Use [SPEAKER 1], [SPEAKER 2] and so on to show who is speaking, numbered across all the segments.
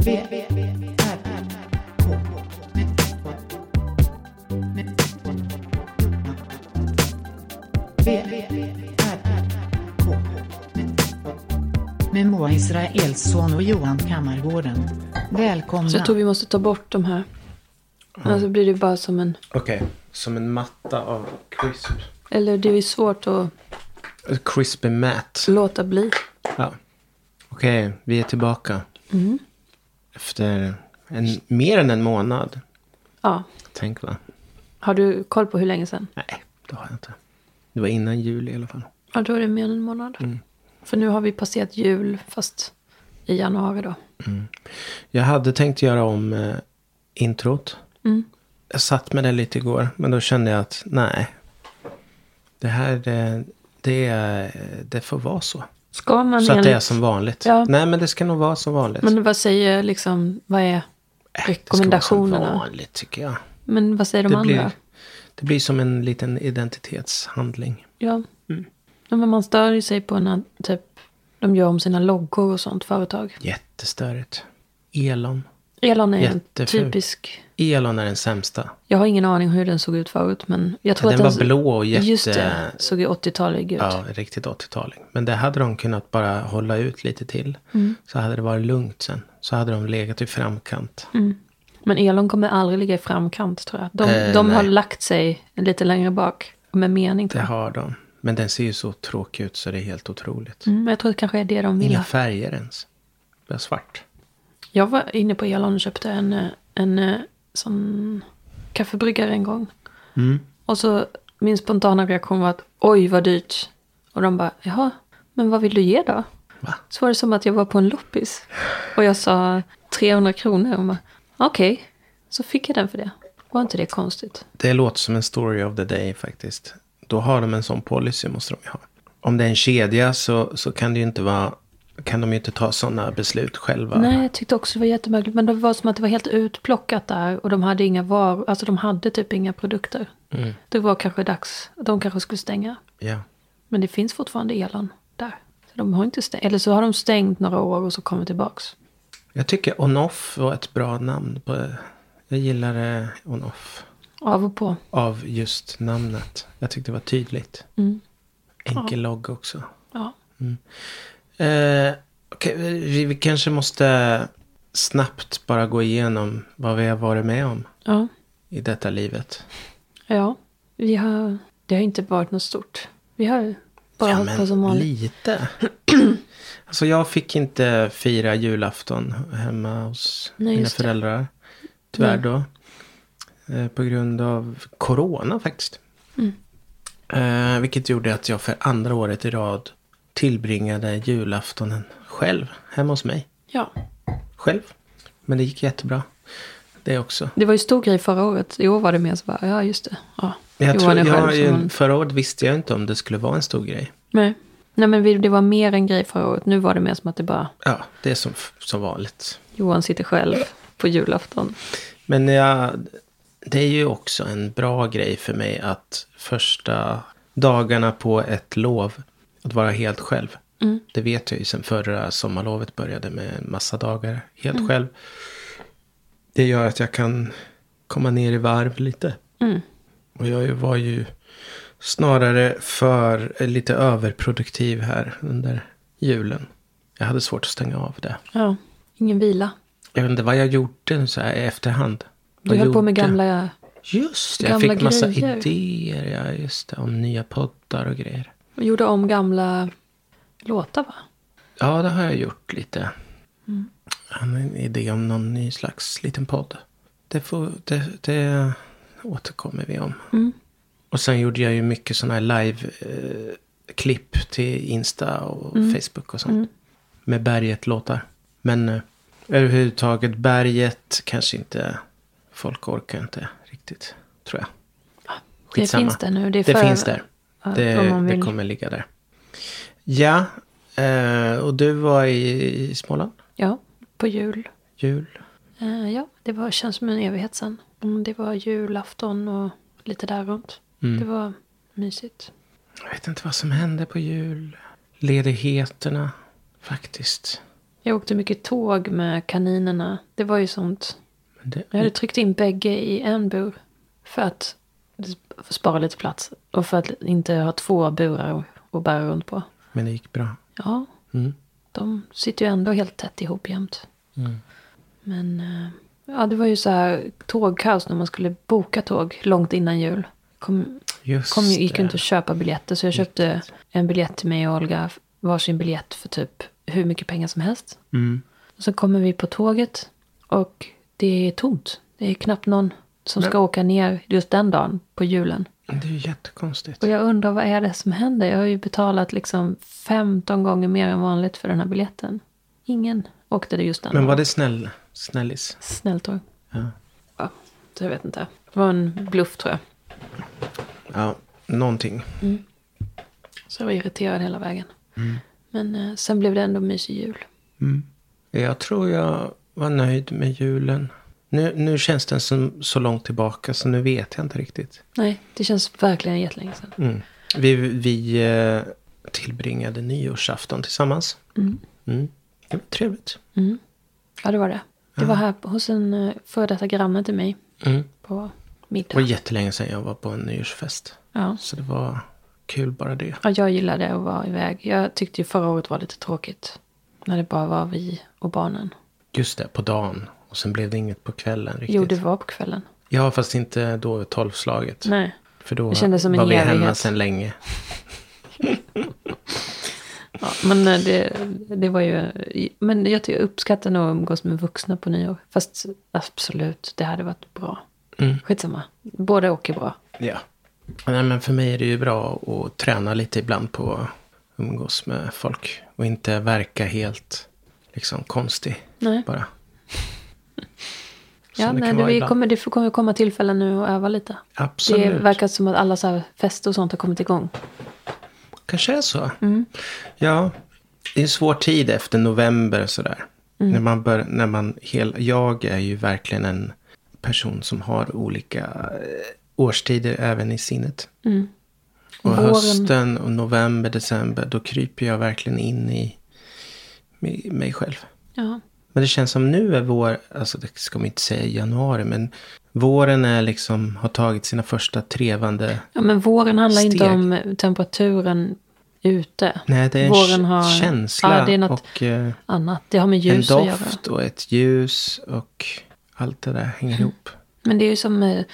[SPEAKER 1] V, R, K. V, R, K. Med Moa Israelsson och Johan Kammargården. Välkomna.
[SPEAKER 2] Så jag tror vi måste ta bort de här. Annars blir det bara som en...
[SPEAKER 3] Okej, som en matta av crisp.
[SPEAKER 2] Eller det är ju svårt att
[SPEAKER 3] A Crispy mat.
[SPEAKER 2] låta bli.
[SPEAKER 3] Ja. Okej, vi är tillbaka.
[SPEAKER 2] Mm.
[SPEAKER 3] Efter en, mer än en månad.
[SPEAKER 2] Ja.
[SPEAKER 3] Tänk va?
[SPEAKER 2] Har du koll på hur länge sedan?
[SPEAKER 3] Nej, det har jag inte. Det var innan jul i alla fall.
[SPEAKER 2] Ja, då är det mer än en månad. Mm. För nu har vi passerat jul, fast i januari då.
[SPEAKER 3] Jag hade tänkt göra om eh, introt.
[SPEAKER 2] Mm.
[SPEAKER 3] Jag satt med det lite igår, men då kände jag att nej. Det här, det, det, är- det får vara så.
[SPEAKER 2] Ska man
[SPEAKER 3] Så att det är
[SPEAKER 2] enligt-
[SPEAKER 3] som vanligt.
[SPEAKER 2] Ja.
[SPEAKER 3] Nej, men det ska nog vara som vanligt.
[SPEAKER 2] Men vad säger liksom, vad är
[SPEAKER 3] Det ska vara
[SPEAKER 2] rekommendationerna?
[SPEAKER 3] som vanligt tycker jag.
[SPEAKER 2] Men vad säger de
[SPEAKER 3] Det
[SPEAKER 2] andra?
[SPEAKER 3] blir, det blir som en liten identitetshandling.
[SPEAKER 2] Ja.
[SPEAKER 3] Mm.
[SPEAKER 2] Ja, Men man stör ju sig på när typ, de gör om sina loggor och sånt, företag.
[SPEAKER 3] Jättestörigt. Elon.
[SPEAKER 2] Elon är ju en
[SPEAKER 3] Jätteful.
[SPEAKER 2] typisk...
[SPEAKER 3] Elon är den sämsta.
[SPEAKER 2] Jag har ingen aning hur den såg ut förut, men jag tror
[SPEAKER 3] den
[SPEAKER 2] att
[SPEAKER 3] var blå och jätte-
[SPEAKER 2] Just det, såg ju 80-talig ut.
[SPEAKER 3] Ja, riktigt 80-taling. Men det hade de kunnat bara hålla ut lite till.
[SPEAKER 2] Mm.
[SPEAKER 3] Så hade det varit lugnt sen. Så hade de legat i framkant.
[SPEAKER 2] Mm. Men Elon kommer aldrig ligga i framkant tror jag. De,
[SPEAKER 3] Eh,
[SPEAKER 2] de har
[SPEAKER 3] nej.
[SPEAKER 2] lagt sig lite längre bak med mening.
[SPEAKER 3] Det
[SPEAKER 2] tror jag.
[SPEAKER 3] har de. Men den ser ju så tråkig ut så det är helt otroligt.
[SPEAKER 2] Mm, men jag tror det kanske är det de vill
[SPEAKER 3] Inga
[SPEAKER 2] ha.
[SPEAKER 3] färger ens. Bara svart.
[SPEAKER 2] Jag var inne på Elon och köpte en, eh, en eh, sån kaffebryggare en gång. Och så min spontana reaktion var att oj vad dyrt. Och de bara jaha, men vad vill du ge då?
[SPEAKER 3] Va?
[SPEAKER 2] Så var det som att jag var på en loppis. Och jag sa 300 kronor. Och de bara okej, så fick jag den för det. Var inte det konstigt?
[SPEAKER 3] Det låter som en story of the day faktiskt. Då har de en sån policy måste de ju ha. Om det är en kedja så, så kan det ju inte vara... Kan de ju inte ta sådana beslut själva.
[SPEAKER 2] Nej, jag tyckte också det var jättemärkligt. Men det var som att det var helt utplockat där. Och de hade inga varor, alltså de hade typ inga produkter. Det var kanske dags, de kanske skulle stänga.
[SPEAKER 3] Ja.
[SPEAKER 2] Men det finns fortfarande Elon där. Så de har inte stängt, eller så har de stängt några år och så kommer tillbaks.
[SPEAKER 3] Jag tycker Onoff var ett bra namn. På, jag gillar eh, Onoff.
[SPEAKER 2] Av och på.
[SPEAKER 3] Av just namnet. Jag tyckte det var tydligt. Enkel logg också.
[SPEAKER 2] Ja.
[SPEAKER 3] Eh, okej, vi, vi kanske måste snabbt bara gå igenom vad vi har varit med om
[SPEAKER 2] Ja.
[SPEAKER 3] i detta livet.
[SPEAKER 2] ja. Vi har, det har inte varit något stort. Vi har bara
[SPEAKER 3] ja,
[SPEAKER 2] hållit
[SPEAKER 3] men
[SPEAKER 2] på som vanligt.
[SPEAKER 3] lite. alltså jag fick inte fira julafton hemma hos
[SPEAKER 2] Nej,
[SPEAKER 3] mina
[SPEAKER 2] just det.
[SPEAKER 3] föräldrar. Tyvärr
[SPEAKER 2] Nej.
[SPEAKER 3] då. Eh, På grund av corona faktiskt.
[SPEAKER 2] Mm.
[SPEAKER 3] Eh, vilket gjorde att jag för andra året i rad tillbringade julaftonen själv. Hemma hos mig.
[SPEAKER 2] Ja.
[SPEAKER 3] Själv. Men det gick jättebra. Det också.
[SPEAKER 2] Det var ju stor grej förra året. I år var det mer så bara, ja just det. Ja.
[SPEAKER 3] Men Jag
[SPEAKER 2] Johan
[SPEAKER 3] tror,
[SPEAKER 2] är själv
[SPEAKER 3] jag,
[SPEAKER 2] som
[SPEAKER 3] ju-
[SPEAKER 2] hon-
[SPEAKER 3] förra året visste jag inte om det skulle vara en stor grej.
[SPEAKER 2] Nej. Nej men vi- det var mer en grej förra året. Nu var det mer som att det bara
[SPEAKER 3] Ja, det är som, som vanligt.
[SPEAKER 2] Johan sitter själv på julafton.
[SPEAKER 3] Men jag, det är ju också en bra grej för mig att första dagarna på ett lov, att vara helt själv.
[SPEAKER 2] Mm.
[SPEAKER 3] Det vet jag ju sen förra sommarlovet började med en massa dagar helt
[SPEAKER 2] Mm.
[SPEAKER 3] själv. Det gör att jag kan komma ner i varv lite.
[SPEAKER 2] Mm.
[SPEAKER 3] Och jag var ju snarare för eh, lite överproduktiv här under julen. Jag hade svårt att stänga av det.
[SPEAKER 2] Ja. Ingen vila.
[SPEAKER 3] Jag vet inte vad jag gjorde nu så här i efterhand.
[SPEAKER 2] Du
[SPEAKER 3] Vad
[SPEAKER 2] höll på med
[SPEAKER 3] gjorde jag?
[SPEAKER 2] gamla...
[SPEAKER 3] Just det, jag
[SPEAKER 2] gamla
[SPEAKER 3] fick massa
[SPEAKER 2] grejer.
[SPEAKER 3] idéer. Ja, just det, om nya poddar och grejer.
[SPEAKER 2] Gjorde om gamla låtar va?
[SPEAKER 3] Ja, det har jag gjort lite.
[SPEAKER 2] Mm.
[SPEAKER 3] Jag hade en idé om någon ny slags liten podd. Det, får, det, det återkommer vi om.
[SPEAKER 2] Mm.
[SPEAKER 3] Och sen gjorde jag ju mycket sådana här live-klipp till Insta och
[SPEAKER 2] Mm.
[SPEAKER 3] Facebook och sånt. Med Berget-låtar. Men eh, överhuvudtaget Berget kanske inte... Folk orkar inte riktigt, tror jag. Skitsamma.
[SPEAKER 2] finns där nu, det är
[SPEAKER 3] det
[SPEAKER 2] för-
[SPEAKER 3] finns där.
[SPEAKER 2] Ja, om
[SPEAKER 3] det,
[SPEAKER 2] man
[SPEAKER 3] det
[SPEAKER 2] vill.
[SPEAKER 3] kommer ligga där. Ja, eh, och du var i, i Småland?
[SPEAKER 2] Ja, på jul.
[SPEAKER 3] Jul?
[SPEAKER 2] Eh, ja, det var, känns som en evighet sen. Mm, Det var julafton och lite där runt.
[SPEAKER 3] Mm.
[SPEAKER 2] Det var mysigt.
[SPEAKER 3] Jag vet inte vad som hände på jul. Ledigheterna, faktiskt.
[SPEAKER 2] Jag åkte mycket tåg med kaninerna. Det var ju sånt.
[SPEAKER 3] Men det,
[SPEAKER 2] Jag hade tryckt in bägge i en bur. För att spara lite plats. Och för att inte ha två burar att bära runt på.
[SPEAKER 3] men det gick bra.
[SPEAKER 2] Ja,
[SPEAKER 3] Mm.
[SPEAKER 2] de sitter ju ändå helt tätt ihop jämt.
[SPEAKER 3] Mm.
[SPEAKER 2] Men eh, ja, det var ju så här tågkaos när man skulle boka tåg långt innan jul. Kom,
[SPEAKER 3] Just
[SPEAKER 2] kom, ju- gick
[SPEAKER 3] det.
[SPEAKER 2] ju inte att köpa biljetter så jag köpte en biljett till mig och Olga. Varsin biljett för typ hur mycket pengar som helst.
[SPEAKER 3] Mm.
[SPEAKER 2] Och sen kommer vi på tåget och det är tomt. Det är knappt någon som ska åka ner just den dagen på julen.
[SPEAKER 3] Det är ju jättekonstigt.
[SPEAKER 2] Och jag undrar vad är det som händer? Jag har ju betalat liksom 15 gånger mer än vanligt för den här biljetten. Ingen åkte det just den
[SPEAKER 3] Men var
[SPEAKER 2] dagen.
[SPEAKER 3] det snäll, snällis?
[SPEAKER 2] Snälltåg.
[SPEAKER 3] Ja.
[SPEAKER 2] Ja, så jag vet inte. Det var en bluff tror jag.
[SPEAKER 3] ja, någonting.
[SPEAKER 2] Så jag var irriterad hela vägen.
[SPEAKER 3] Mm.
[SPEAKER 2] Men eh, sen blev det ändå mysig jul.
[SPEAKER 3] Jag tror jag var nöjd med julen. Nu, nu känns den som så långt tillbaka så nu vet jag inte riktigt.
[SPEAKER 2] Nej, det känns verkligen jättelänge sedan.
[SPEAKER 3] Mm. Vi, vi eh, tillbringade nyårsafton tillsammans. Mm. Det var trevligt.
[SPEAKER 2] Ja, det var det. Det var här hos en eh, före detta granne till mig
[SPEAKER 3] Mm.
[SPEAKER 2] på
[SPEAKER 3] Det var
[SPEAKER 2] middag.
[SPEAKER 3] jättelänge sedan jag var på en nyårsfest.
[SPEAKER 2] Ja.
[SPEAKER 3] Så det var kul bara det.
[SPEAKER 2] ja, jag gillade att vara iväg. Jag tyckte ju förra året var lite tråkigt. När det bara var vi och barnen.
[SPEAKER 3] Just det, på dagen. Och sen blev det inget på kvällen riktigt.
[SPEAKER 2] Jo, det var på kvällen.
[SPEAKER 3] Ja, fast inte då vid tolvslaget.
[SPEAKER 2] Nej.
[SPEAKER 3] För då
[SPEAKER 2] Det kändes som en
[SPEAKER 3] var vi hemma
[SPEAKER 2] evighet.
[SPEAKER 3] sedan länge.
[SPEAKER 2] Ja, men eh, det, det var ju... Men jag, tycker- jag uppskattar nog att umgås med vuxna på nyår. Fast absolut, det hade varit bra.
[SPEAKER 3] Mm.
[SPEAKER 2] Skitsamma. Båda åker bra.
[SPEAKER 3] Ja. Nej, men för mig är det ju bra att träna lite ibland på att umgås med folk. Och inte verka helt liksom konstig
[SPEAKER 2] Nej.
[SPEAKER 3] bara.
[SPEAKER 2] Ja,
[SPEAKER 3] Som det
[SPEAKER 2] nej,
[SPEAKER 3] kan
[SPEAKER 2] det,
[SPEAKER 3] vara
[SPEAKER 2] vi
[SPEAKER 3] ibland.
[SPEAKER 2] kommer, det kommer komma tillfällen nu att öva lite.
[SPEAKER 3] Absolut.
[SPEAKER 2] Det verkar som att alla så här fester och sånt har kommit igång.
[SPEAKER 3] Kanske är så.
[SPEAKER 2] Mm.
[SPEAKER 3] Ja. Det är en svår tid efter november sådär.
[SPEAKER 2] Mm.
[SPEAKER 3] När man bör, när man hel, jag är ju verkligen en person som har olika eh, årstider även i sinnet. Och
[SPEAKER 2] Mm. Våren.
[SPEAKER 3] hösten och november, december, då kryper jag verkligen in i mi- mig själv.
[SPEAKER 2] Ja,
[SPEAKER 3] Men det känns som nu är vår, alltså det ska man inte säga i januari, men våren är liksom, har tagit sina första trevande
[SPEAKER 2] ja men våren handlar inte
[SPEAKER 3] Steg.
[SPEAKER 2] om temperaturen ute.
[SPEAKER 3] Nej, det är en
[SPEAKER 2] våren
[SPEAKER 3] k-
[SPEAKER 2] har,
[SPEAKER 3] känsla
[SPEAKER 2] ja, det är något
[SPEAKER 3] och eh,
[SPEAKER 2] annat. Det har med
[SPEAKER 3] en
[SPEAKER 2] ljus att göra.
[SPEAKER 3] doft och ett ljus och allt det där
[SPEAKER 2] Mm.
[SPEAKER 3] hänger ihop.
[SPEAKER 2] Men det är ju som eh,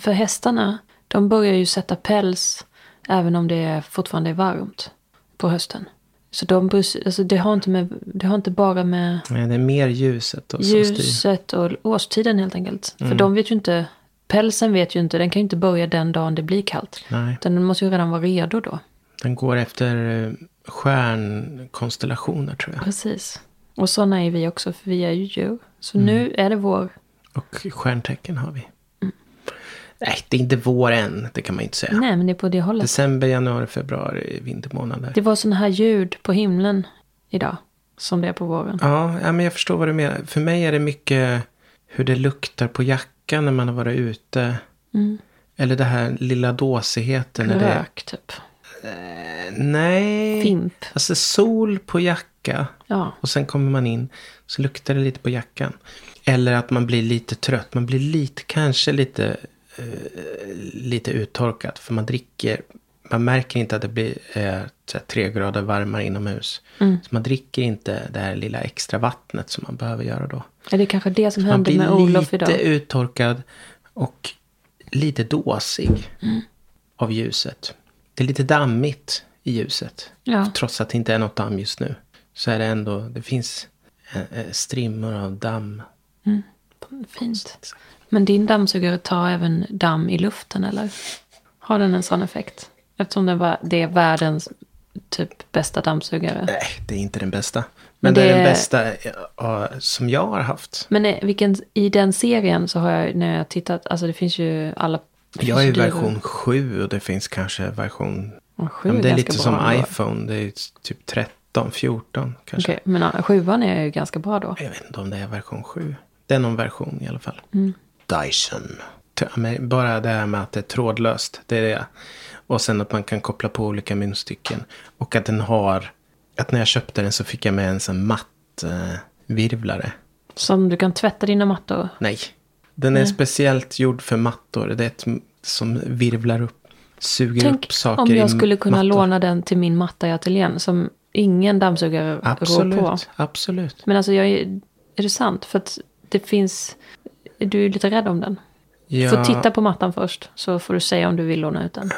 [SPEAKER 2] för hästarna. De börjar ju sätta päls även om det är- fortfarande är varmt på hösten. Så de, bryr- alltså det, har inte med, det har inte bara med
[SPEAKER 3] Nej, det är mer ljuset och som styr.
[SPEAKER 2] ljuset och årstiden helt enkelt. För de vet ju inte, pälsen vet ju inte, den kan ju inte börja den dagen det blir kallt.
[SPEAKER 3] Nej,
[SPEAKER 2] Utan den måste ju redan vara redo då.
[SPEAKER 3] den går efter eh, stjärnkonstellationer tror jag.
[SPEAKER 2] Precis. Och sådana är vi också, för vi är ju djur. Så nu är det vår...
[SPEAKER 3] Och stjärntecken har vi.
[SPEAKER 2] Mm.
[SPEAKER 3] Nej, det är inte vår än, det kan man ju inte säga.
[SPEAKER 2] Nej, men det är på det hållet.
[SPEAKER 3] December, januari, februari, vintermånader.
[SPEAKER 2] Det var sådana här ljud på himlen idag, som det är på våren.
[SPEAKER 3] Ja, ja, men jag förstår vad du menar. För mig är det mycket hur det luktar på jackan när man har varit ute. Eller det här lilla dåsigheten. när det-
[SPEAKER 2] Rök, typ.
[SPEAKER 3] Nej.
[SPEAKER 2] Fimp.
[SPEAKER 3] Alltså sol på jacka.
[SPEAKER 2] Ja.
[SPEAKER 3] Och sen kommer man in så luktar det lite på jackan. Eller att man blir lite trött. Man blir lite, kanske lite, eh, lite uttorkad. För man dricker. Man märker inte att det blir eh, så här tre grader varmare inomhus.
[SPEAKER 2] Mm.
[SPEAKER 3] Så man dricker inte det här lilla extra vattnet som man behöver göra då.
[SPEAKER 2] Är det kanske det som
[SPEAKER 3] Man
[SPEAKER 2] hände med
[SPEAKER 3] blir
[SPEAKER 2] Olof idag?
[SPEAKER 3] lite uttorkad och lite dåsig
[SPEAKER 2] Mm.
[SPEAKER 3] av ljuset. Det är lite dammigt i ljuset.
[SPEAKER 2] Ja.
[SPEAKER 3] Trots att det inte är något damm just nu. Så är det ändå, det finns eh, eh, strimmor av damm.
[SPEAKER 2] Fint. Men din dammsugare tar även damm i luften eller? Har den en sån effekt? Eftersom den var, det är världens typ bästa dammsugare.
[SPEAKER 3] Nej, det är inte den bästa. Men,
[SPEAKER 2] Men
[SPEAKER 3] det är den
[SPEAKER 2] det-
[SPEAKER 3] bästa eh, eh, som jag har haft.
[SPEAKER 2] Men eh, vilken, i den serien så har jag, när jag tittat, alltså det finns ju alla... det
[SPEAKER 3] Jag är i
[SPEAKER 2] finns ju
[SPEAKER 3] version 7 och det finns kanske version...
[SPEAKER 2] Ja, sju
[SPEAKER 3] Ja, men det är
[SPEAKER 2] ganska bra
[SPEAKER 3] lite som
[SPEAKER 2] ändå.
[SPEAKER 3] iPhone, det är typ 13, 14 kanske.
[SPEAKER 2] Okej, men ja, sjuan är ju ganska bra då.
[SPEAKER 3] Jag vet inte om det är version 7. Det är någon version i alla fall.
[SPEAKER 2] Mm.
[SPEAKER 3] Dyson. T- men Bara det här med att det är trådlöst. Det är det. Och sen att man kan koppla på olika munstycken. Och att den har... Att när jag köpte den så fick jag med en sån matt eh, plastvirvlare.
[SPEAKER 2] Som du kan tvätta dina mattor.
[SPEAKER 3] Nej. Den är speciellt gjord för mattor. Det är ett m- som virvlar upp, suger upp
[SPEAKER 2] Tänk
[SPEAKER 3] saker
[SPEAKER 2] om
[SPEAKER 3] i
[SPEAKER 2] jag skulle kunna
[SPEAKER 3] mattor.
[SPEAKER 2] låna den till min matta i ateljén som ingen dammsugare rår på.
[SPEAKER 3] Absolut, absolut.
[SPEAKER 2] Men alltså, jag är, är det sant? För att det finns... Du är lite rädd om den. Du
[SPEAKER 3] Ja,
[SPEAKER 2] får titta på mattan först, så får du säga om du vill låna ut den.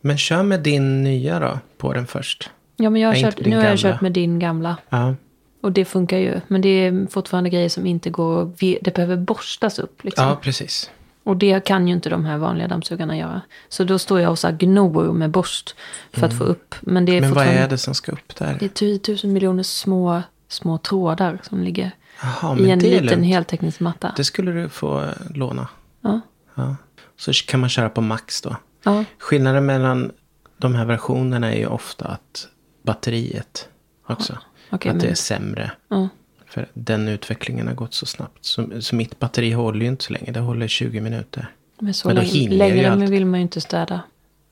[SPEAKER 3] Men kör med din nya då, på den först.
[SPEAKER 2] Ja, men jag har
[SPEAKER 3] Nej,
[SPEAKER 2] kört,
[SPEAKER 3] inte din
[SPEAKER 2] nu har jag
[SPEAKER 3] gamla.
[SPEAKER 2] kört med din gamla.
[SPEAKER 3] Ja,
[SPEAKER 2] Och det funkar ju. Men det är fortfarande grejer som inte går att ve- Det behöver borstas upp liksom.
[SPEAKER 3] ja precis.
[SPEAKER 2] Och det kan ju inte de här vanliga dammsugarna göra. Så då står jag och så här gnor med borst för att få upp. Men det är
[SPEAKER 3] Mm. Men vad
[SPEAKER 2] fortfarande...
[SPEAKER 3] är det som ska upp
[SPEAKER 2] Det
[SPEAKER 3] där?
[SPEAKER 2] är 10 000 miljoner små, små trådar som ligger
[SPEAKER 3] Jaha,
[SPEAKER 2] i
[SPEAKER 3] men
[SPEAKER 2] en
[SPEAKER 3] det är
[SPEAKER 2] liten
[SPEAKER 3] lugnt.
[SPEAKER 2] heltäckningsmatta.
[SPEAKER 3] Det skulle du få eh, låna.
[SPEAKER 2] Ja.
[SPEAKER 3] Ja. Så kan man köra på max då.
[SPEAKER 2] Ja.
[SPEAKER 3] Skillnaden mellan de här versionerna är ju ofta att batteriet också.
[SPEAKER 2] okej,
[SPEAKER 3] att
[SPEAKER 2] men-
[SPEAKER 3] det är sämre.
[SPEAKER 2] Ja.
[SPEAKER 3] För den utvecklingen har gått så snabbt. Så, så mitt batteri håller ju inte så länge. Det håller 20 minuter.
[SPEAKER 2] Men så
[SPEAKER 3] Men då
[SPEAKER 2] länge,
[SPEAKER 3] hinner jag ju
[SPEAKER 2] längre
[SPEAKER 3] allt.
[SPEAKER 2] vill man ju inte städa.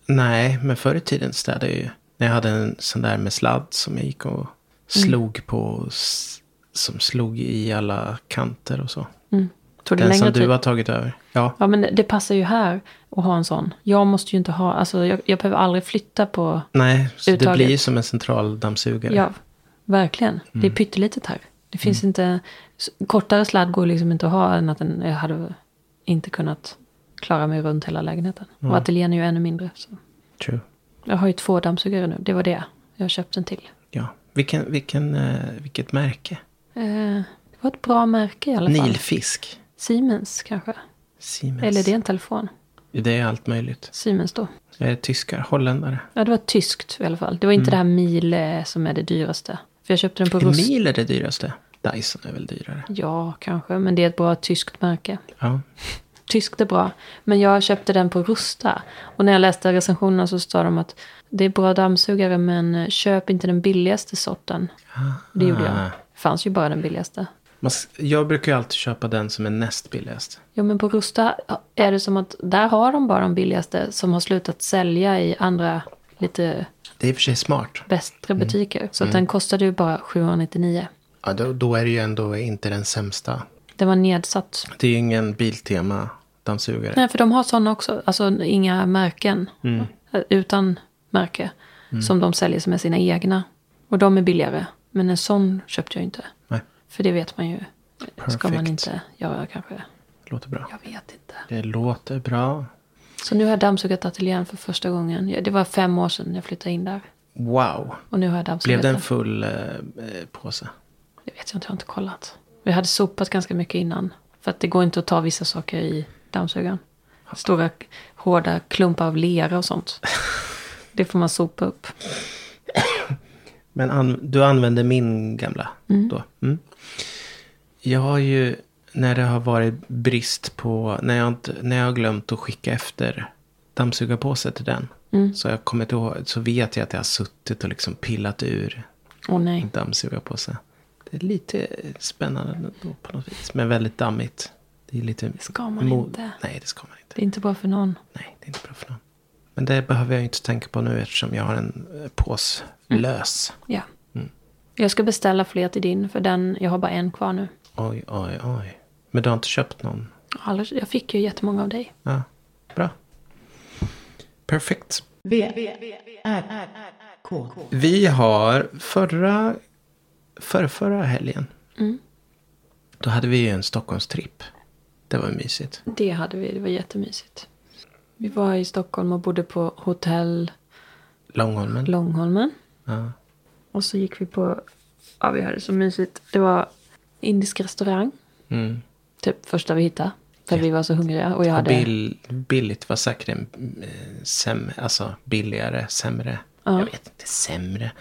[SPEAKER 3] Nej, men förr i tiden städade jag ju. När jag hade en sån där med sladd som jag gick och
[SPEAKER 2] Mm.
[SPEAKER 3] slog på. och s- Som slog i alla kanter och så.
[SPEAKER 2] Tog det
[SPEAKER 3] Den
[SPEAKER 2] Mm. längre
[SPEAKER 3] som du
[SPEAKER 2] tid?
[SPEAKER 3] har tagit över. Ja,
[SPEAKER 2] Ja, men det passar ju här att ha en sån. Jag måste ju inte ha, alltså jag, jag behöver aldrig flytta på,
[SPEAKER 3] nej. Så det
[SPEAKER 2] Uttaget.
[SPEAKER 3] blir ju som en central dammsugare.
[SPEAKER 2] ja, verkligen. Det är
[SPEAKER 3] Mm.
[SPEAKER 2] pyttelitet här. Det finns inte, s- kortare sladd går liksom inte att ha än att den, jag hade inte kunnat klara mig runt hela lägenheten. Och ateljén är ju ännu mindre. Så.
[SPEAKER 3] True.
[SPEAKER 2] Jag har ju två dammsugare nu, det var det. Jag har köpt en till.
[SPEAKER 3] Ja. Vilken, vilken, eh, vilket märke?
[SPEAKER 2] Eh, det var ett bra märke i alla fall.
[SPEAKER 3] Nilfisk.
[SPEAKER 2] Siemens kanske.
[SPEAKER 3] Siemens.
[SPEAKER 2] Eller det är en telefon.
[SPEAKER 3] Det är allt möjligt.
[SPEAKER 2] Siemens då.
[SPEAKER 3] Jag är tyskar, holländare.
[SPEAKER 2] Ja, det var tyskt i alla fall. Det var inte det här mil eh, som är det dyraste. För jag köpte den på
[SPEAKER 3] Mm. En
[SPEAKER 2] Rust.
[SPEAKER 3] mil är det dyraste. Dyson är väl dyrare.
[SPEAKER 2] Ja, kanske. Men det är ett bra tyskt märke.
[SPEAKER 3] Ja.
[SPEAKER 2] Tyskt är bra. Men jag köpte den på Rusta. Och när jag läste recensionerna så sa de att det är bra dammsugare men eh, köp inte den billigaste sorten. Det gjorde jag.
[SPEAKER 3] Ah.
[SPEAKER 2] Det fanns ju bara den billigaste.
[SPEAKER 3] Man, s- jag brukar ju alltid köpa den som är näst billigast.
[SPEAKER 2] Ja, men på Rusta är det som att där har de bara de billigaste som har slutat sälja i andra lite
[SPEAKER 3] Det är i och för sig smart.
[SPEAKER 2] bättre butiker. Så att den kostade ju bara 799.
[SPEAKER 3] Ja, då, då är det ju ändå inte den sämsta.
[SPEAKER 2] Den var nedsatt.
[SPEAKER 3] Det är ju ingen Biltema-dammsugare.
[SPEAKER 2] Nej, för de har sådana också. Alltså inga märken. Eh, Utan märke. Som de säljer som är sina egna. Och de är billigare. Men en sån köpte jag inte.
[SPEAKER 3] Nej,
[SPEAKER 2] För det vet man ju. Ska man
[SPEAKER 3] Perfect.
[SPEAKER 2] inte göra kanske.
[SPEAKER 3] det låter bra.
[SPEAKER 2] Jag vet inte.
[SPEAKER 3] Det låter bra.
[SPEAKER 2] Så nu har jag dammsugat ateljén för första gången. Ja, Det var fem år sedan jag flyttade in där.
[SPEAKER 3] Wow.
[SPEAKER 2] Och nu har jag dammsugat
[SPEAKER 3] Blev det en
[SPEAKER 2] den.
[SPEAKER 3] full eh, eh, påse?
[SPEAKER 2] Det vet jag inte, jag har inte kollat. Vi hade sopat ganska mycket innan. För att det går inte att ta vissa saker i dammsugaren. Stora hårda klumpar av lera och sånt. Det får man sopa upp.
[SPEAKER 3] Men an, du använde min gamla då? Mm. Jag har ju, när det har varit brist på, när jag, inte, när jag har glömt att skicka efter dammsugarpåse till den.
[SPEAKER 2] Mm.
[SPEAKER 3] Så, har jag kommit ihåg, så vet jag att jag har suttit och liksom pillat ur
[SPEAKER 2] Åh nej.
[SPEAKER 3] en dammsugarpåse. Det är lite spännande då på något vis. Men väldigt dammigt. Det är lite... Det
[SPEAKER 2] ska man inte.
[SPEAKER 3] Nej, det ska man inte.
[SPEAKER 2] Det är inte bra för någon.
[SPEAKER 3] Nej, det är inte bra för någon. Men det behöver jag ju inte tänka på nu eftersom jag har en eh, pås lös.
[SPEAKER 2] Ja. Jag ska beställa fler till din, för den, jag har bara en kvar nu.
[SPEAKER 3] Oj, oj, oj. Men du har inte köpt någon?
[SPEAKER 2] Alltså, Jag fick ju jättemånga av dig.
[SPEAKER 3] Ja, bra. Perfekt.
[SPEAKER 1] V, R, R, K.
[SPEAKER 3] Vi har förra, förra, förra helgen.
[SPEAKER 2] Mm.
[SPEAKER 3] Då hade vi ju en Stockholmstripp. Det var mysigt.
[SPEAKER 2] Det hade vi, det var jättemysigt. Vi var i Stockholm och bodde på hotell
[SPEAKER 3] Långholmen.
[SPEAKER 2] Långholmen.
[SPEAKER 3] ja.
[SPEAKER 2] Och så gick vi på, ja vi hade det så mysigt. Det var indisk restaurang.
[SPEAKER 3] Mm.
[SPEAKER 2] Typ första vi hittade. För vi var så hungriga. Och jag
[SPEAKER 3] Och
[SPEAKER 2] hade...
[SPEAKER 3] bill, billigt var säkert en eh, sämre, alltså billigare, sämre. Jag vet inte, sämre.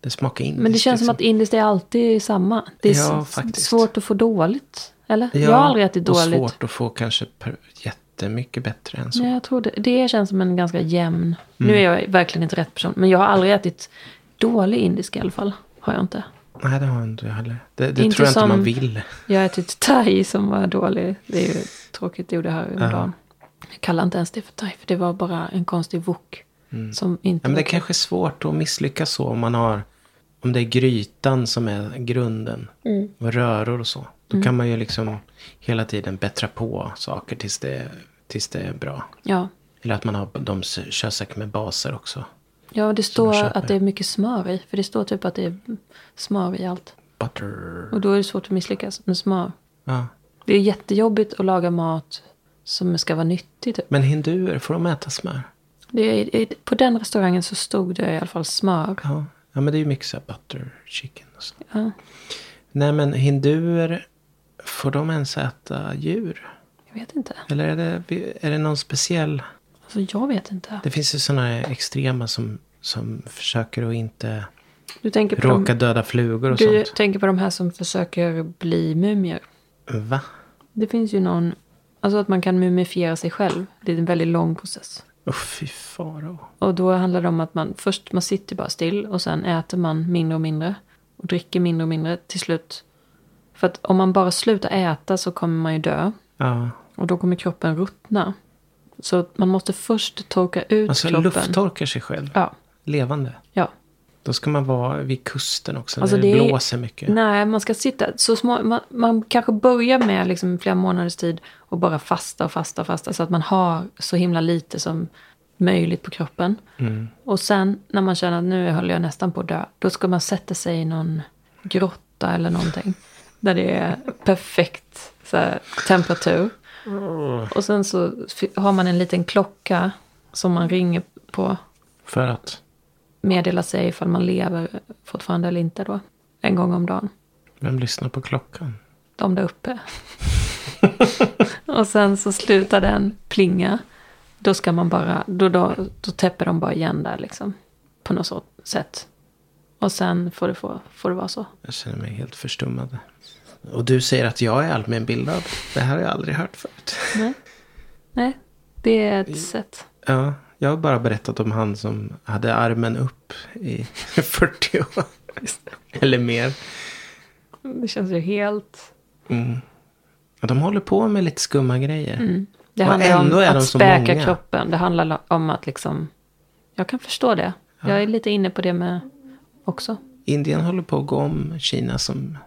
[SPEAKER 3] Det smakar inte.
[SPEAKER 2] Men det känns som att indiskt är alltid samma. Det är
[SPEAKER 3] liksom. Ja,
[SPEAKER 2] s-
[SPEAKER 3] faktiskt.
[SPEAKER 2] svårt att få dåligt. Eller? jag har aldrig ätit dåligt.
[SPEAKER 3] Och svårt att få kanske per, jättemycket bättre än så.
[SPEAKER 2] Nej, jag tror det. Det känns som en ganska jämn.
[SPEAKER 3] Mm.
[SPEAKER 2] Nu är jag verkligen inte rätt person. Men jag har aldrig ätit dålig indisk i alla fall. Har jag inte.
[SPEAKER 3] Nej, det har jag inte heller. Det, det
[SPEAKER 2] Inte
[SPEAKER 3] tror jag inte
[SPEAKER 2] som-
[SPEAKER 3] man vill.
[SPEAKER 2] Jag har ätit thai som var dålig. Det är ju tråkigt. Det gjorde jag häromdagen. Jag kallar inte ens det för thai. För det var bara en konstig wok. Som inte
[SPEAKER 3] Mm. Ja, men
[SPEAKER 2] var-
[SPEAKER 3] det kanske är svårt att misslyckas så om man har om det är grytan som är grunden
[SPEAKER 2] Mm.
[SPEAKER 3] och röror och så. Då kan man ju liksom hela tiden bättra på saker tills det, tills det är bra.
[SPEAKER 2] Ja.
[SPEAKER 3] Eller att man har, de kör säkert med baser också.
[SPEAKER 2] Ja, det
[SPEAKER 3] man
[SPEAKER 2] står
[SPEAKER 3] köper.
[SPEAKER 2] att det är mycket smör i. För det står typ att det är smör i allt.
[SPEAKER 3] Butter.
[SPEAKER 2] Och då är det svårt att misslyckas med smör.
[SPEAKER 3] Ja.
[SPEAKER 2] Det är jättejobbigt att laga mat som ska vara nyttig typ.
[SPEAKER 3] Men hinduer, får de äta smör?
[SPEAKER 2] Det är, i- på den restaurangen så stod det i alla fall smör.
[SPEAKER 3] Ja, ja men det är ju mycket så här butter chicken och så.
[SPEAKER 2] Ja.
[SPEAKER 3] Nej men hinduer, får de ens äta djur?
[SPEAKER 2] Jag vet inte.
[SPEAKER 3] Eller är det, är det någon speciell?
[SPEAKER 2] Alltså jag vet inte.
[SPEAKER 3] Det finns ju sådana extrema som, som försöker att inte
[SPEAKER 2] Du tänker på,
[SPEAKER 3] råka
[SPEAKER 2] de,
[SPEAKER 3] döda flugor och
[SPEAKER 2] du
[SPEAKER 3] sånt.
[SPEAKER 2] tänker på de här som försöker bli mumier.
[SPEAKER 3] Va?
[SPEAKER 2] Det finns ju någon, alltså att man kan mumifiera sig själv. Det är en väldigt lång process.
[SPEAKER 3] Åh fy farao.
[SPEAKER 2] Och då handlar det om att man först man sitter bara still och sen äter man mindre och mindre. Och dricker mindre och mindre till slut. För att om man bara slutar äta så kommer man ju dö.
[SPEAKER 3] Ja,
[SPEAKER 2] Och då kommer kroppen ruttna. Så man måste först torka ut
[SPEAKER 3] alltså
[SPEAKER 2] kroppen.
[SPEAKER 3] lufttorkar sig själv.
[SPEAKER 2] Ja,
[SPEAKER 3] Levande.
[SPEAKER 2] ja.
[SPEAKER 3] Då ska man vara vid kusten också
[SPEAKER 2] Alltså,
[SPEAKER 3] när
[SPEAKER 2] det
[SPEAKER 3] det,
[SPEAKER 2] är-
[SPEAKER 3] blåser mycket.
[SPEAKER 2] Nej, man ska sitta så små. Man, man kanske börjar med liksom flera månaders tid och bara fasta och fasta och fasta. Så att man har så himla lite som möjligt på kroppen. Och sen när man känner att nu håller jag nästan på att dö. Då ska man sätta sig i någon grotta eller någonting. Där det är perfekt så här, temperatur. Och sen så fi- har man en liten klocka som man ringer på.
[SPEAKER 3] För att,
[SPEAKER 2] Meddela sig ifall man lever fortfarande eller inte då. En gång om dagen
[SPEAKER 3] vem lyssnar på klockan?
[SPEAKER 2] de där uppe. och sen så slutar den plinga. Då ska man bara, då, då, då täpper de bara igen där liksom. På något så sätt. Och sen får det, få, får det vara så.
[SPEAKER 3] Jag känner mig helt förstummad. Och du säger att jag är allmänbildad. Det här har jag aldrig hört förut.
[SPEAKER 2] Nej, Nej det är ett sätt.
[SPEAKER 3] Ja, jag har bara berättat om han som hade armen upp i 40 år. Eller mer.
[SPEAKER 2] Det känns ju helt...
[SPEAKER 3] Mm. Ja, De håller på med lite skumma grejer.
[SPEAKER 2] Det
[SPEAKER 3] Och
[SPEAKER 2] handlar om
[SPEAKER 3] ändå är de
[SPEAKER 2] att
[SPEAKER 3] så
[SPEAKER 2] späka
[SPEAKER 3] många.
[SPEAKER 2] kroppen. Det handlar om att liksom... Jag kan förstå det. Jag är lite inne på det med också.
[SPEAKER 3] Indien håller på att gå om Kina som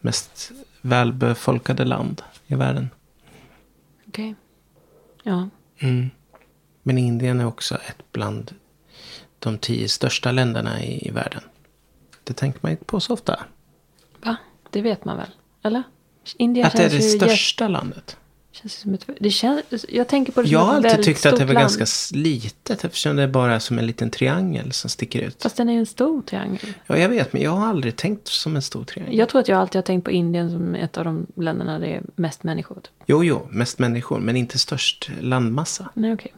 [SPEAKER 3] mest välbefolkade land i världen.
[SPEAKER 2] Okej. Ja. Mm.
[SPEAKER 3] Men Indien är också ett bland de tio största länderna i, i världen. Det tänker man inte på så ofta.
[SPEAKER 2] Va? Det vet man väl? Eller? Indien
[SPEAKER 3] att det är
[SPEAKER 2] känns
[SPEAKER 3] det
[SPEAKER 2] ju jätte-
[SPEAKER 3] största landet.
[SPEAKER 2] Känns det som ett, det känns, jag tänker på det som
[SPEAKER 3] Jag har
[SPEAKER 2] ett
[SPEAKER 3] alltid
[SPEAKER 2] väldigt
[SPEAKER 3] tyckt att det
[SPEAKER 2] stort
[SPEAKER 3] var
[SPEAKER 2] land.
[SPEAKER 3] ganska s- litet eftersom det bara är som en liten triangel som sticker ut.
[SPEAKER 2] Fast den är ju en stor triangel.
[SPEAKER 3] Ja, jag vet, men jag har aldrig tänkt som en stor triangel.
[SPEAKER 2] Jag tror att jag alltid har tänkt på Indien som ett av de länderna där det är mest människor. Typ.
[SPEAKER 3] Jo, jo, mest människor, men inte störst landmassa.
[SPEAKER 2] Nej, okej.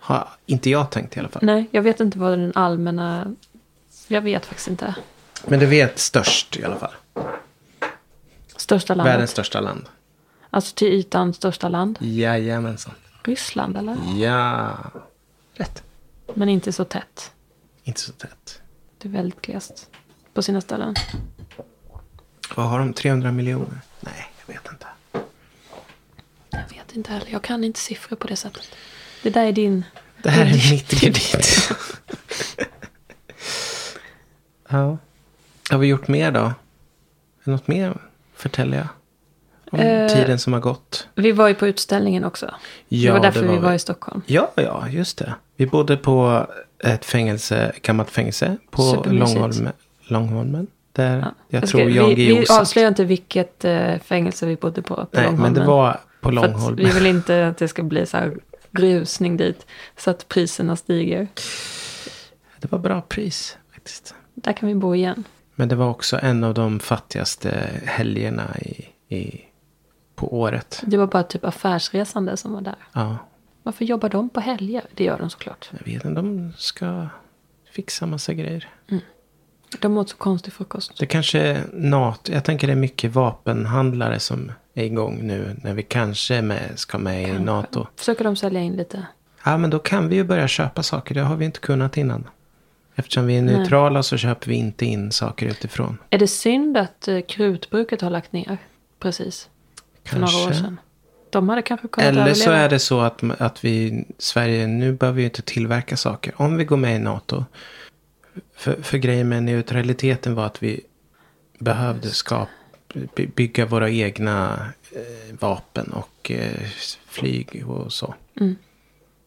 [SPEAKER 3] Har inte jag tänkt i alla fall.
[SPEAKER 2] Nej, jag vet inte vad den allmänna... Jag vet faktiskt inte.
[SPEAKER 3] Men du vet, störst i alla fall.
[SPEAKER 2] Största landet.
[SPEAKER 3] Världens största land.
[SPEAKER 2] Alltså till ytan största land.
[SPEAKER 3] Jajamensan.
[SPEAKER 2] Ryssland, eller?
[SPEAKER 3] Ja. Rätt.
[SPEAKER 2] Men inte så tätt.
[SPEAKER 3] Inte så tätt.
[SPEAKER 2] Det är väldigt glest på sina ställen.
[SPEAKER 3] Vad har de? 300 miljoner? Nej, jag vet inte.
[SPEAKER 2] Jag vet inte heller. Jag kan inte siffror på det sättet. Det där är din...
[SPEAKER 3] Det här är mitt gebit. ja. Har vi gjort mer då? Är det Något mer förtäljer jag? Om
[SPEAKER 2] Eh,
[SPEAKER 3] tiden som har gått.
[SPEAKER 2] Vi var ju på utställningen också. det var därför vi var i Stockholm.
[SPEAKER 3] Ja, ja, just det. Vi bodde på ett fängelse, gammalt fängelse på
[SPEAKER 2] Supermysigt.
[SPEAKER 3] Långholmen. Långholmen där jag
[SPEAKER 2] ska-
[SPEAKER 3] tror Jan
[SPEAKER 2] vi,
[SPEAKER 3] Guillou
[SPEAKER 2] vi
[SPEAKER 3] satt.
[SPEAKER 2] avslöjar inte vilket eh, fängelse vi bodde på. på
[SPEAKER 3] Nej, men det
[SPEAKER 2] Långholmen.
[SPEAKER 3] var på
[SPEAKER 2] För att
[SPEAKER 3] Långholmen.
[SPEAKER 2] Vi vill inte att det ska bli så här rusning dit. Så att priserna stiger.
[SPEAKER 3] Det var bra pris faktiskt.
[SPEAKER 2] Där kan vi bo igen.
[SPEAKER 3] Men det var också en av de fattigaste helgerna i, i, på året.
[SPEAKER 2] Det var bara typ affärsresande som var där.
[SPEAKER 3] Ja,
[SPEAKER 2] Varför jobbar de på helger? Det gör de såklart.
[SPEAKER 3] jag vet inte, de ska fixa massa grejer.
[SPEAKER 2] De åt så konstig frukost.
[SPEAKER 3] Det kanske är NAT, jag tänker det är mycket vapenhandlare som är igång nu när vi kanske är med, ska med i NATO.
[SPEAKER 2] Försöker de sälja in lite?
[SPEAKER 3] Ja, men då kan vi ju börja köpa saker, det har vi inte kunnat innan. Eftersom vi är neutrala så köper vi inte in saker utifrån.
[SPEAKER 2] Är det synd att eh, krutbruket har lagt ner? Precis. För några år
[SPEAKER 3] Kanske.
[SPEAKER 2] sedan. De hade kanske kunnat
[SPEAKER 3] Eller så
[SPEAKER 2] överleva.
[SPEAKER 3] är det så att, att vi, Sverige, nu behöver vi ju inte tillverka saker. Om vi går med i NATO, För, för grejen med neutraliteten var att vi behövde skap, by- bygga våra egna eh, vapen och eh, flyg och så.
[SPEAKER 2] Mm.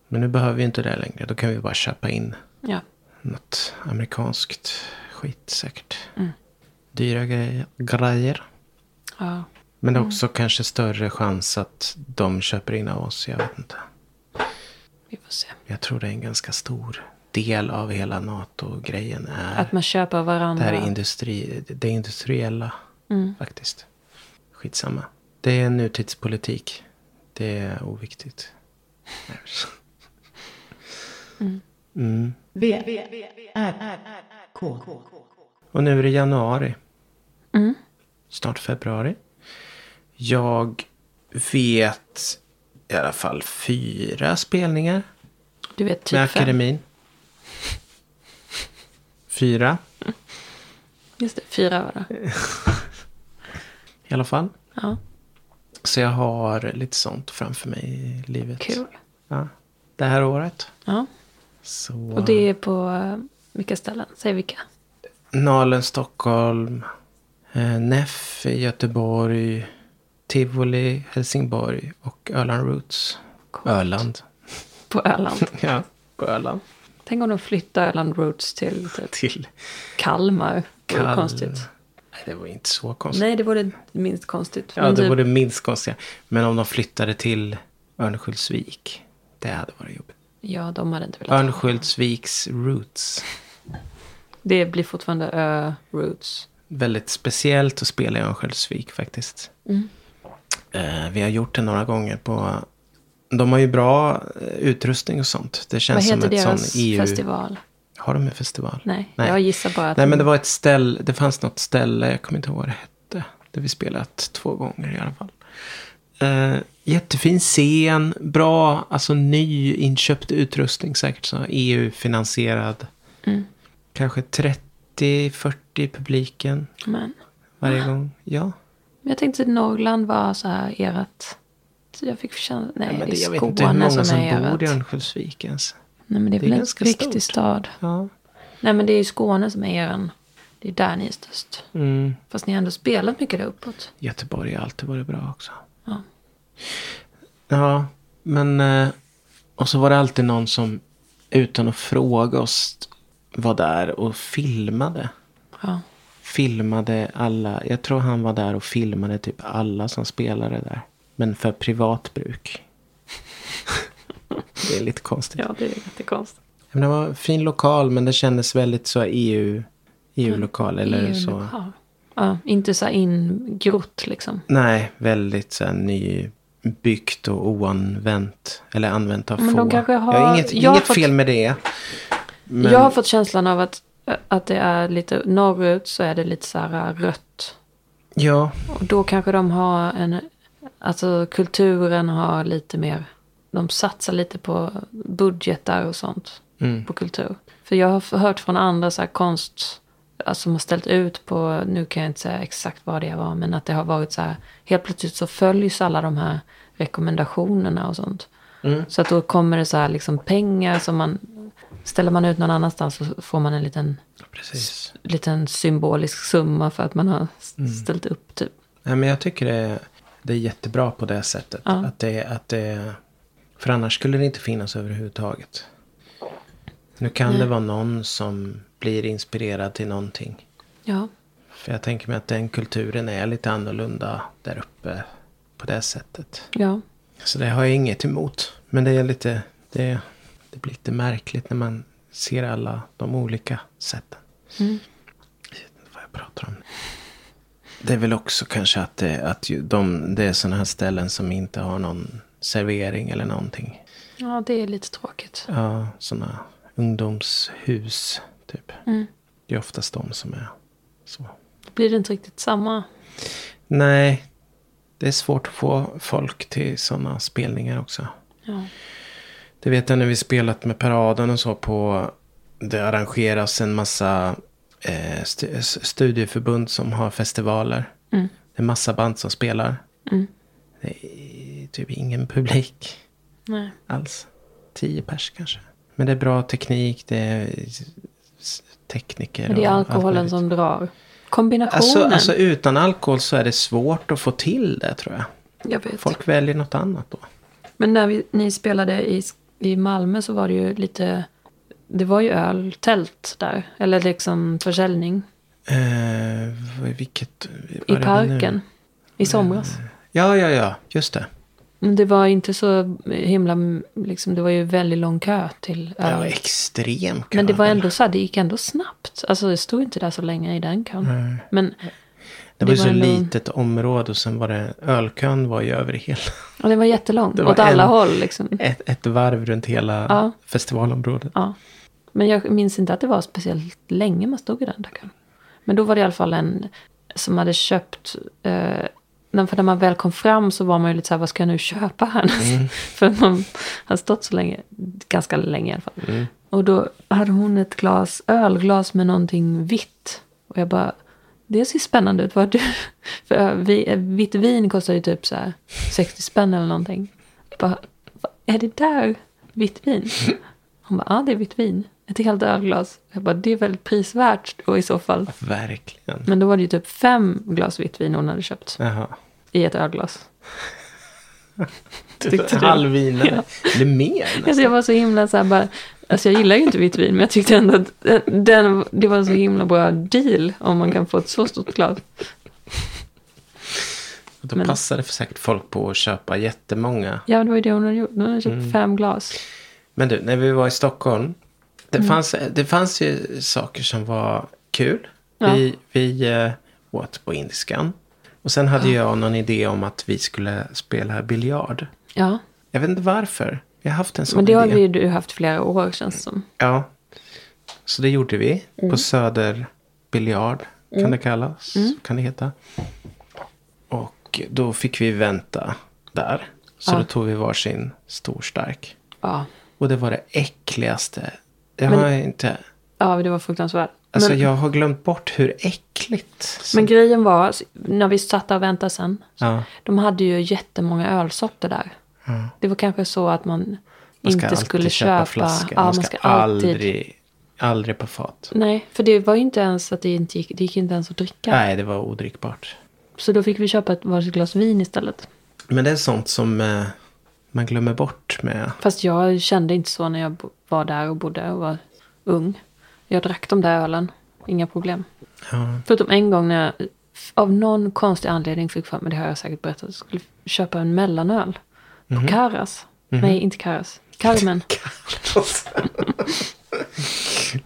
[SPEAKER 3] Men nu behöver vi inte det längre. Då kan vi bara köpa in
[SPEAKER 2] Ja.
[SPEAKER 3] något amerikanskt skit säkert.
[SPEAKER 2] Mm.
[SPEAKER 3] Dyra grejer. grejer.
[SPEAKER 2] ja.
[SPEAKER 3] Men det
[SPEAKER 2] Mm.
[SPEAKER 3] är också kanske större chans att de köper in av oss. Jag vet inte.
[SPEAKER 2] Vi får se.
[SPEAKER 3] Jag tror det är en ganska stor del av hela NATO-grejen är
[SPEAKER 2] Att man köper
[SPEAKER 3] det
[SPEAKER 2] varandra.
[SPEAKER 3] här industri, det industriella
[SPEAKER 2] Mm.
[SPEAKER 3] faktiskt. Skitsamma. Det är nutidspolitik. Det är oviktigt. Mm.
[SPEAKER 1] V, V, V, R, R, R, K.
[SPEAKER 3] Och nu är det januari.
[SPEAKER 2] Mm.
[SPEAKER 3] Snart februari. Jag vet i alla fall fyra spelningar
[SPEAKER 2] Du vet, typ
[SPEAKER 3] med
[SPEAKER 2] fem.
[SPEAKER 3] akademin. Fyra
[SPEAKER 2] Just det, fyra var det.
[SPEAKER 3] i alla fall.
[SPEAKER 2] Ja,
[SPEAKER 3] Så jag har lite sånt framför mig i livet.
[SPEAKER 2] kul.
[SPEAKER 3] Ja, det här året.
[SPEAKER 2] Ja.
[SPEAKER 3] Så...
[SPEAKER 2] Och det är på eh, vilka ställen? Säg vilka.
[SPEAKER 3] Nalen, Stockholm. Eh, Neff i Göteborg. Tivoli, Helsingborg och Öland Roots.
[SPEAKER 2] Coolt.
[SPEAKER 3] Öland.
[SPEAKER 2] På Öland.
[SPEAKER 3] Ja, på Öland.
[SPEAKER 2] Tänk om de flyttar Öland Roots till typ
[SPEAKER 3] Till
[SPEAKER 2] Kalmar. Det vore
[SPEAKER 3] Kalmar.
[SPEAKER 2] konstigt.
[SPEAKER 3] Nej, det var inte så konstigt.
[SPEAKER 2] Nej, det vore minst konstigt.
[SPEAKER 3] ja,
[SPEAKER 2] Men
[SPEAKER 3] det
[SPEAKER 2] typ-
[SPEAKER 3] var det minst konstiga. Men om de flyttade till Örnsköldsvik. Det hade varit jobbigt.
[SPEAKER 2] ja, de hade inte velat.
[SPEAKER 3] Örnsköldsviks Roots.
[SPEAKER 2] Det blir fortfarande Ö Roots.
[SPEAKER 3] väldigt speciellt att spela i Örnsköldsvik faktiskt.
[SPEAKER 2] Mm.
[SPEAKER 3] Eh, vi har gjort det några gånger på... De har ju bra eh, utrustning och sånt. Det
[SPEAKER 2] Vad
[SPEAKER 3] känns som
[SPEAKER 2] heter
[SPEAKER 3] ett sån
[SPEAKER 2] deras
[SPEAKER 3] EU...
[SPEAKER 2] festival?
[SPEAKER 3] Har de en festival?
[SPEAKER 2] Nej,
[SPEAKER 3] Nej.
[SPEAKER 2] jag gissar bara att...
[SPEAKER 3] Nej, men det var ett ställe. Det fanns något ställe, jag kommer inte ihåg vad det hette. Där vi spelat två gånger i alla fall. Eh, jättefin scen, bra, alltså ny inköpt utrustning säkert. Så EU-finansierad.
[SPEAKER 2] Mm.
[SPEAKER 3] Kanske 30-40 i publiken
[SPEAKER 2] Men,
[SPEAKER 3] varje
[SPEAKER 2] Ah.
[SPEAKER 3] gång. Ja.
[SPEAKER 2] men jag tänkte att Norrland var så här ert... Så jag fick känna... Nej,
[SPEAKER 3] Nej, men
[SPEAKER 2] det
[SPEAKER 3] det, jag
[SPEAKER 2] är
[SPEAKER 3] vet inte hur många
[SPEAKER 2] Skåne som,
[SPEAKER 3] som,
[SPEAKER 2] är
[SPEAKER 3] bor i
[SPEAKER 2] ert.
[SPEAKER 3] Örnsköldsvik ens.
[SPEAKER 2] Nej, men det är väl en
[SPEAKER 3] ganska
[SPEAKER 2] riktig
[SPEAKER 3] stort.
[SPEAKER 2] stad.
[SPEAKER 3] Ja.
[SPEAKER 2] Nej, men det är ju Skåne som är eran. Det är där ni är störst.
[SPEAKER 3] Mm.
[SPEAKER 2] Fast ni har ändå spelat mycket där uppåt.
[SPEAKER 3] Göteborg har alltid varit bra också.
[SPEAKER 2] Ja.
[SPEAKER 3] Ja, men... eh, Och så var det alltid någon som utan att fråga oss var där och filmade.
[SPEAKER 2] Ja.
[SPEAKER 3] Filmade alla. Jag tror han var där och filmade typ alla som spelade där. Men för privat bruk. det är lite konstigt.
[SPEAKER 2] ja, det är jättekonstigt.
[SPEAKER 3] Men det var en fin lokal men det kändes väldigt så E EU, EU-lokal. Eller
[SPEAKER 2] EU
[SPEAKER 3] så.
[SPEAKER 2] lokal. Ja, inte så här ingrott liksom.
[SPEAKER 3] Nej, väldigt så här, nybyggt och oanvänt. Eller använt av
[SPEAKER 2] Men
[SPEAKER 3] få.
[SPEAKER 2] de kanske
[SPEAKER 3] Jag
[SPEAKER 2] har-
[SPEAKER 3] har inget,
[SPEAKER 2] jag har
[SPEAKER 3] inget
[SPEAKER 2] fått-
[SPEAKER 3] fel med det. Men
[SPEAKER 2] Jag har fått känslan av att, att det är lite norrut så är det lite så här rött.
[SPEAKER 3] ja,
[SPEAKER 2] Och då kanske de har en, alltså kulturen har lite mer, de satsar lite på budgetar och sånt.
[SPEAKER 3] Mm.
[SPEAKER 2] På kultur. För jag har f- hört från andra så här konst, alltså som har ställt ut på, nu kan jag inte säga exakt vad det var, men att det har varit så här, helt plötsligt så följs alla de här rekommendationerna och sånt. Så att då kommer det så här liksom pengar som man, ställer man ut någon annanstans så får man en liten,
[SPEAKER 3] precis.
[SPEAKER 2] liten symbolisk summa för att man har s- ställt upp typ.
[SPEAKER 3] Nej, men jag tycker det är, det är jättebra på det sättet.
[SPEAKER 2] Ja.
[SPEAKER 3] Att det, att det, för annars skulle det inte finnas överhuvudtaget. Nu kan det vara någon som blir inspirerad till någonting.
[SPEAKER 2] Ja.
[SPEAKER 3] För jag tänker mig att den kulturen är lite annorlunda där uppe på det sättet.
[SPEAKER 2] Ja,
[SPEAKER 3] Så det har jag inget emot. Men det är lite, det, det blir lite märkligt när man ser alla de olika sätten. Jag vet inte vad jag pratar om. Det är väl också kanske att det, att ju de, det är sådana här ställen som inte har någon servering eller någonting.
[SPEAKER 2] ja det är lite tråkigt.
[SPEAKER 3] Ja, sådana ungdomshus typ. Det är oftast de som är så.
[SPEAKER 2] Då blir det inte riktigt samma.
[SPEAKER 3] Nej, det är svårt att få folk till sådana spelningar också.
[SPEAKER 2] Ja.
[SPEAKER 3] Det vet jag när vi spelat med paraden och så på... Det arrangeras en massa eh, stu- s- studieförbund som har festivaler. Det är massa band som spelar.
[SPEAKER 2] Mm.
[SPEAKER 3] Det är typ ingen publik
[SPEAKER 2] Nej.
[SPEAKER 3] alls. Tio pers kanske. Men det är bra teknik, det är s- tekniker.
[SPEAKER 2] Men det är
[SPEAKER 3] och allt
[SPEAKER 2] alkoholen
[SPEAKER 3] möjligt.
[SPEAKER 2] som drar. Kombinationen.
[SPEAKER 3] Alltså, alltså utan alkohol så är det svårt att få till det tror jag.
[SPEAKER 2] jag vet.
[SPEAKER 3] Folk väljer något annat då.
[SPEAKER 2] Men när vi, ni spelade i, i Malmö så var det ju lite... Det var ju öltält där. Eller liksom försäljning.
[SPEAKER 3] Eh, vad- vilket...
[SPEAKER 2] I
[SPEAKER 3] vad är det
[SPEAKER 2] parken.
[SPEAKER 3] nu?
[SPEAKER 2] I somras.
[SPEAKER 3] Ja, ja, ja. Just det.
[SPEAKER 2] Men det var inte så himla... Liksom, det var ju väldigt lång kö till
[SPEAKER 3] Det var
[SPEAKER 2] öl.
[SPEAKER 3] extrem kö.
[SPEAKER 2] Men det var ändå så här, det gick ändå snabbt. Alltså det stod inte där så länge i den kön. Men
[SPEAKER 3] Det var ju
[SPEAKER 2] det
[SPEAKER 3] så
[SPEAKER 2] var ändå-
[SPEAKER 3] litet område och sen var det... Ölkön var ju över hela...
[SPEAKER 2] och det var jättelångt.
[SPEAKER 3] Det var
[SPEAKER 2] åt alla
[SPEAKER 3] en-
[SPEAKER 2] håll liksom.
[SPEAKER 3] Ett, ett varv runt hela
[SPEAKER 2] Ja.
[SPEAKER 3] festivalområdet.
[SPEAKER 2] Ja. Men jag minns inte att det var speciellt länge man stod i den där kön. Men då var det i alla fall en som hade köpt... Eh, när- för när man väl kom fram så var man ju lite så här, vad ska jag nu köpa här? för man har stått så länge, ganska länge i alla fall. Och då hade hon ett glas, ölglas med någonting vitt. Och jag bara, det ser spännande ut. Vad har du? För ö- vi, eh, vitt vin kostar ju typ så här 60 spänn eller någonting. Jag bara, vad är det där vitt vin? Hon bara, ja det är vitt vin. Ett helt ölglas. Jag bara, det är väldigt prisvärt då i så fall.
[SPEAKER 3] Verkligen.
[SPEAKER 2] Men då var det ju typ fem glas vitt vin hon hade köpt
[SPEAKER 3] Jaha.
[SPEAKER 2] i ett ölglas. Tyckte du?
[SPEAKER 3] Halvvinare. Eller mer nästan.
[SPEAKER 2] Alltså jag var så himla så här bara, alltså jag gillar ju inte vitt vin men jag tyckte ändå att den, det var en så himla bra deal om man kan få ett så stort glas.
[SPEAKER 3] Och Då
[SPEAKER 2] men-
[SPEAKER 3] passade för säkert folk på att köpa jättemånga.
[SPEAKER 2] Ja det var ju det hon hade gjort, hon hade köpt fem glas.
[SPEAKER 3] Men du, när vi var i Stockholm. Det,
[SPEAKER 2] Mm.
[SPEAKER 3] fanns, det fanns ju saker som var kul.
[SPEAKER 2] Ja.
[SPEAKER 3] Vi, vi eh, åt på Indiskan. Och sen hade jag någon idé om att vi skulle spela biljard.
[SPEAKER 2] Ja,
[SPEAKER 3] Jag vet inte varför. Vi har haft en sån
[SPEAKER 2] men det har
[SPEAKER 3] idé.
[SPEAKER 2] ju du haft flera år känns det som.
[SPEAKER 3] Ja. Så det gjorde vi.
[SPEAKER 2] Mm.
[SPEAKER 3] På Söder Biljard. Kan det kallas.
[SPEAKER 2] Mm.
[SPEAKER 3] Kan det heta. Och då fick vi vänta där. Så då tog vi varsin stor stark.
[SPEAKER 2] Ja,
[SPEAKER 3] Och det var det äckligaste. Jag
[SPEAKER 2] Men-
[SPEAKER 3] har inte...
[SPEAKER 2] ja det var fruktansvärt.
[SPEAKER 3] Alltså
[SPEAKER 2] men,
[SPEAKER 3] jag har glömt bort hur äckligt. som-
[SPEAKER 2] men grejen var, när vi satt där och väntade sen,
[SPEAKER 3] ja.
[SPEAKER 2] de hade ju jättemånga ölsorter där.
[SPEAKER 3] Ja.
[SPEAKER 2] Det var kanske så att man,
[SPEAKER 3] Man ska
[SPEAKER 2] inte
[SPEAKER 3] alltid
[SPEAKER 2] skulle köpa...
[SPEAKER 3] flaska.
[SPEAKER 2] ja,
[SPEAKER 3] man, ska aldrig, aldrig på fat.
[SPEAKER 2] Nej, för det var ju inte ens att det inte gick, det gick inte ens att dricka.
[SPEAKER 3] Nej, det var odrickbart.
[SPEAKER 2] Så då fick vi köpa ett varsitt glas vin istället.
[SPEAKER 3] Men det är sånt som eh, man glömmer bort med.
[SPEAKER 2] Fast jag kände inte så när jag bo- var där och bodde och var ung. Jag drack de där ölen, inga problem.
[SPEAKER 3] Ja.
[SPEAKER 2] Förutom en gång när jag f- av någon konstig anledning fick för mig, det har jag säkert berättat, jag skulle köpa en mellanöl på Karas. Nej, inte Karas. Carmen.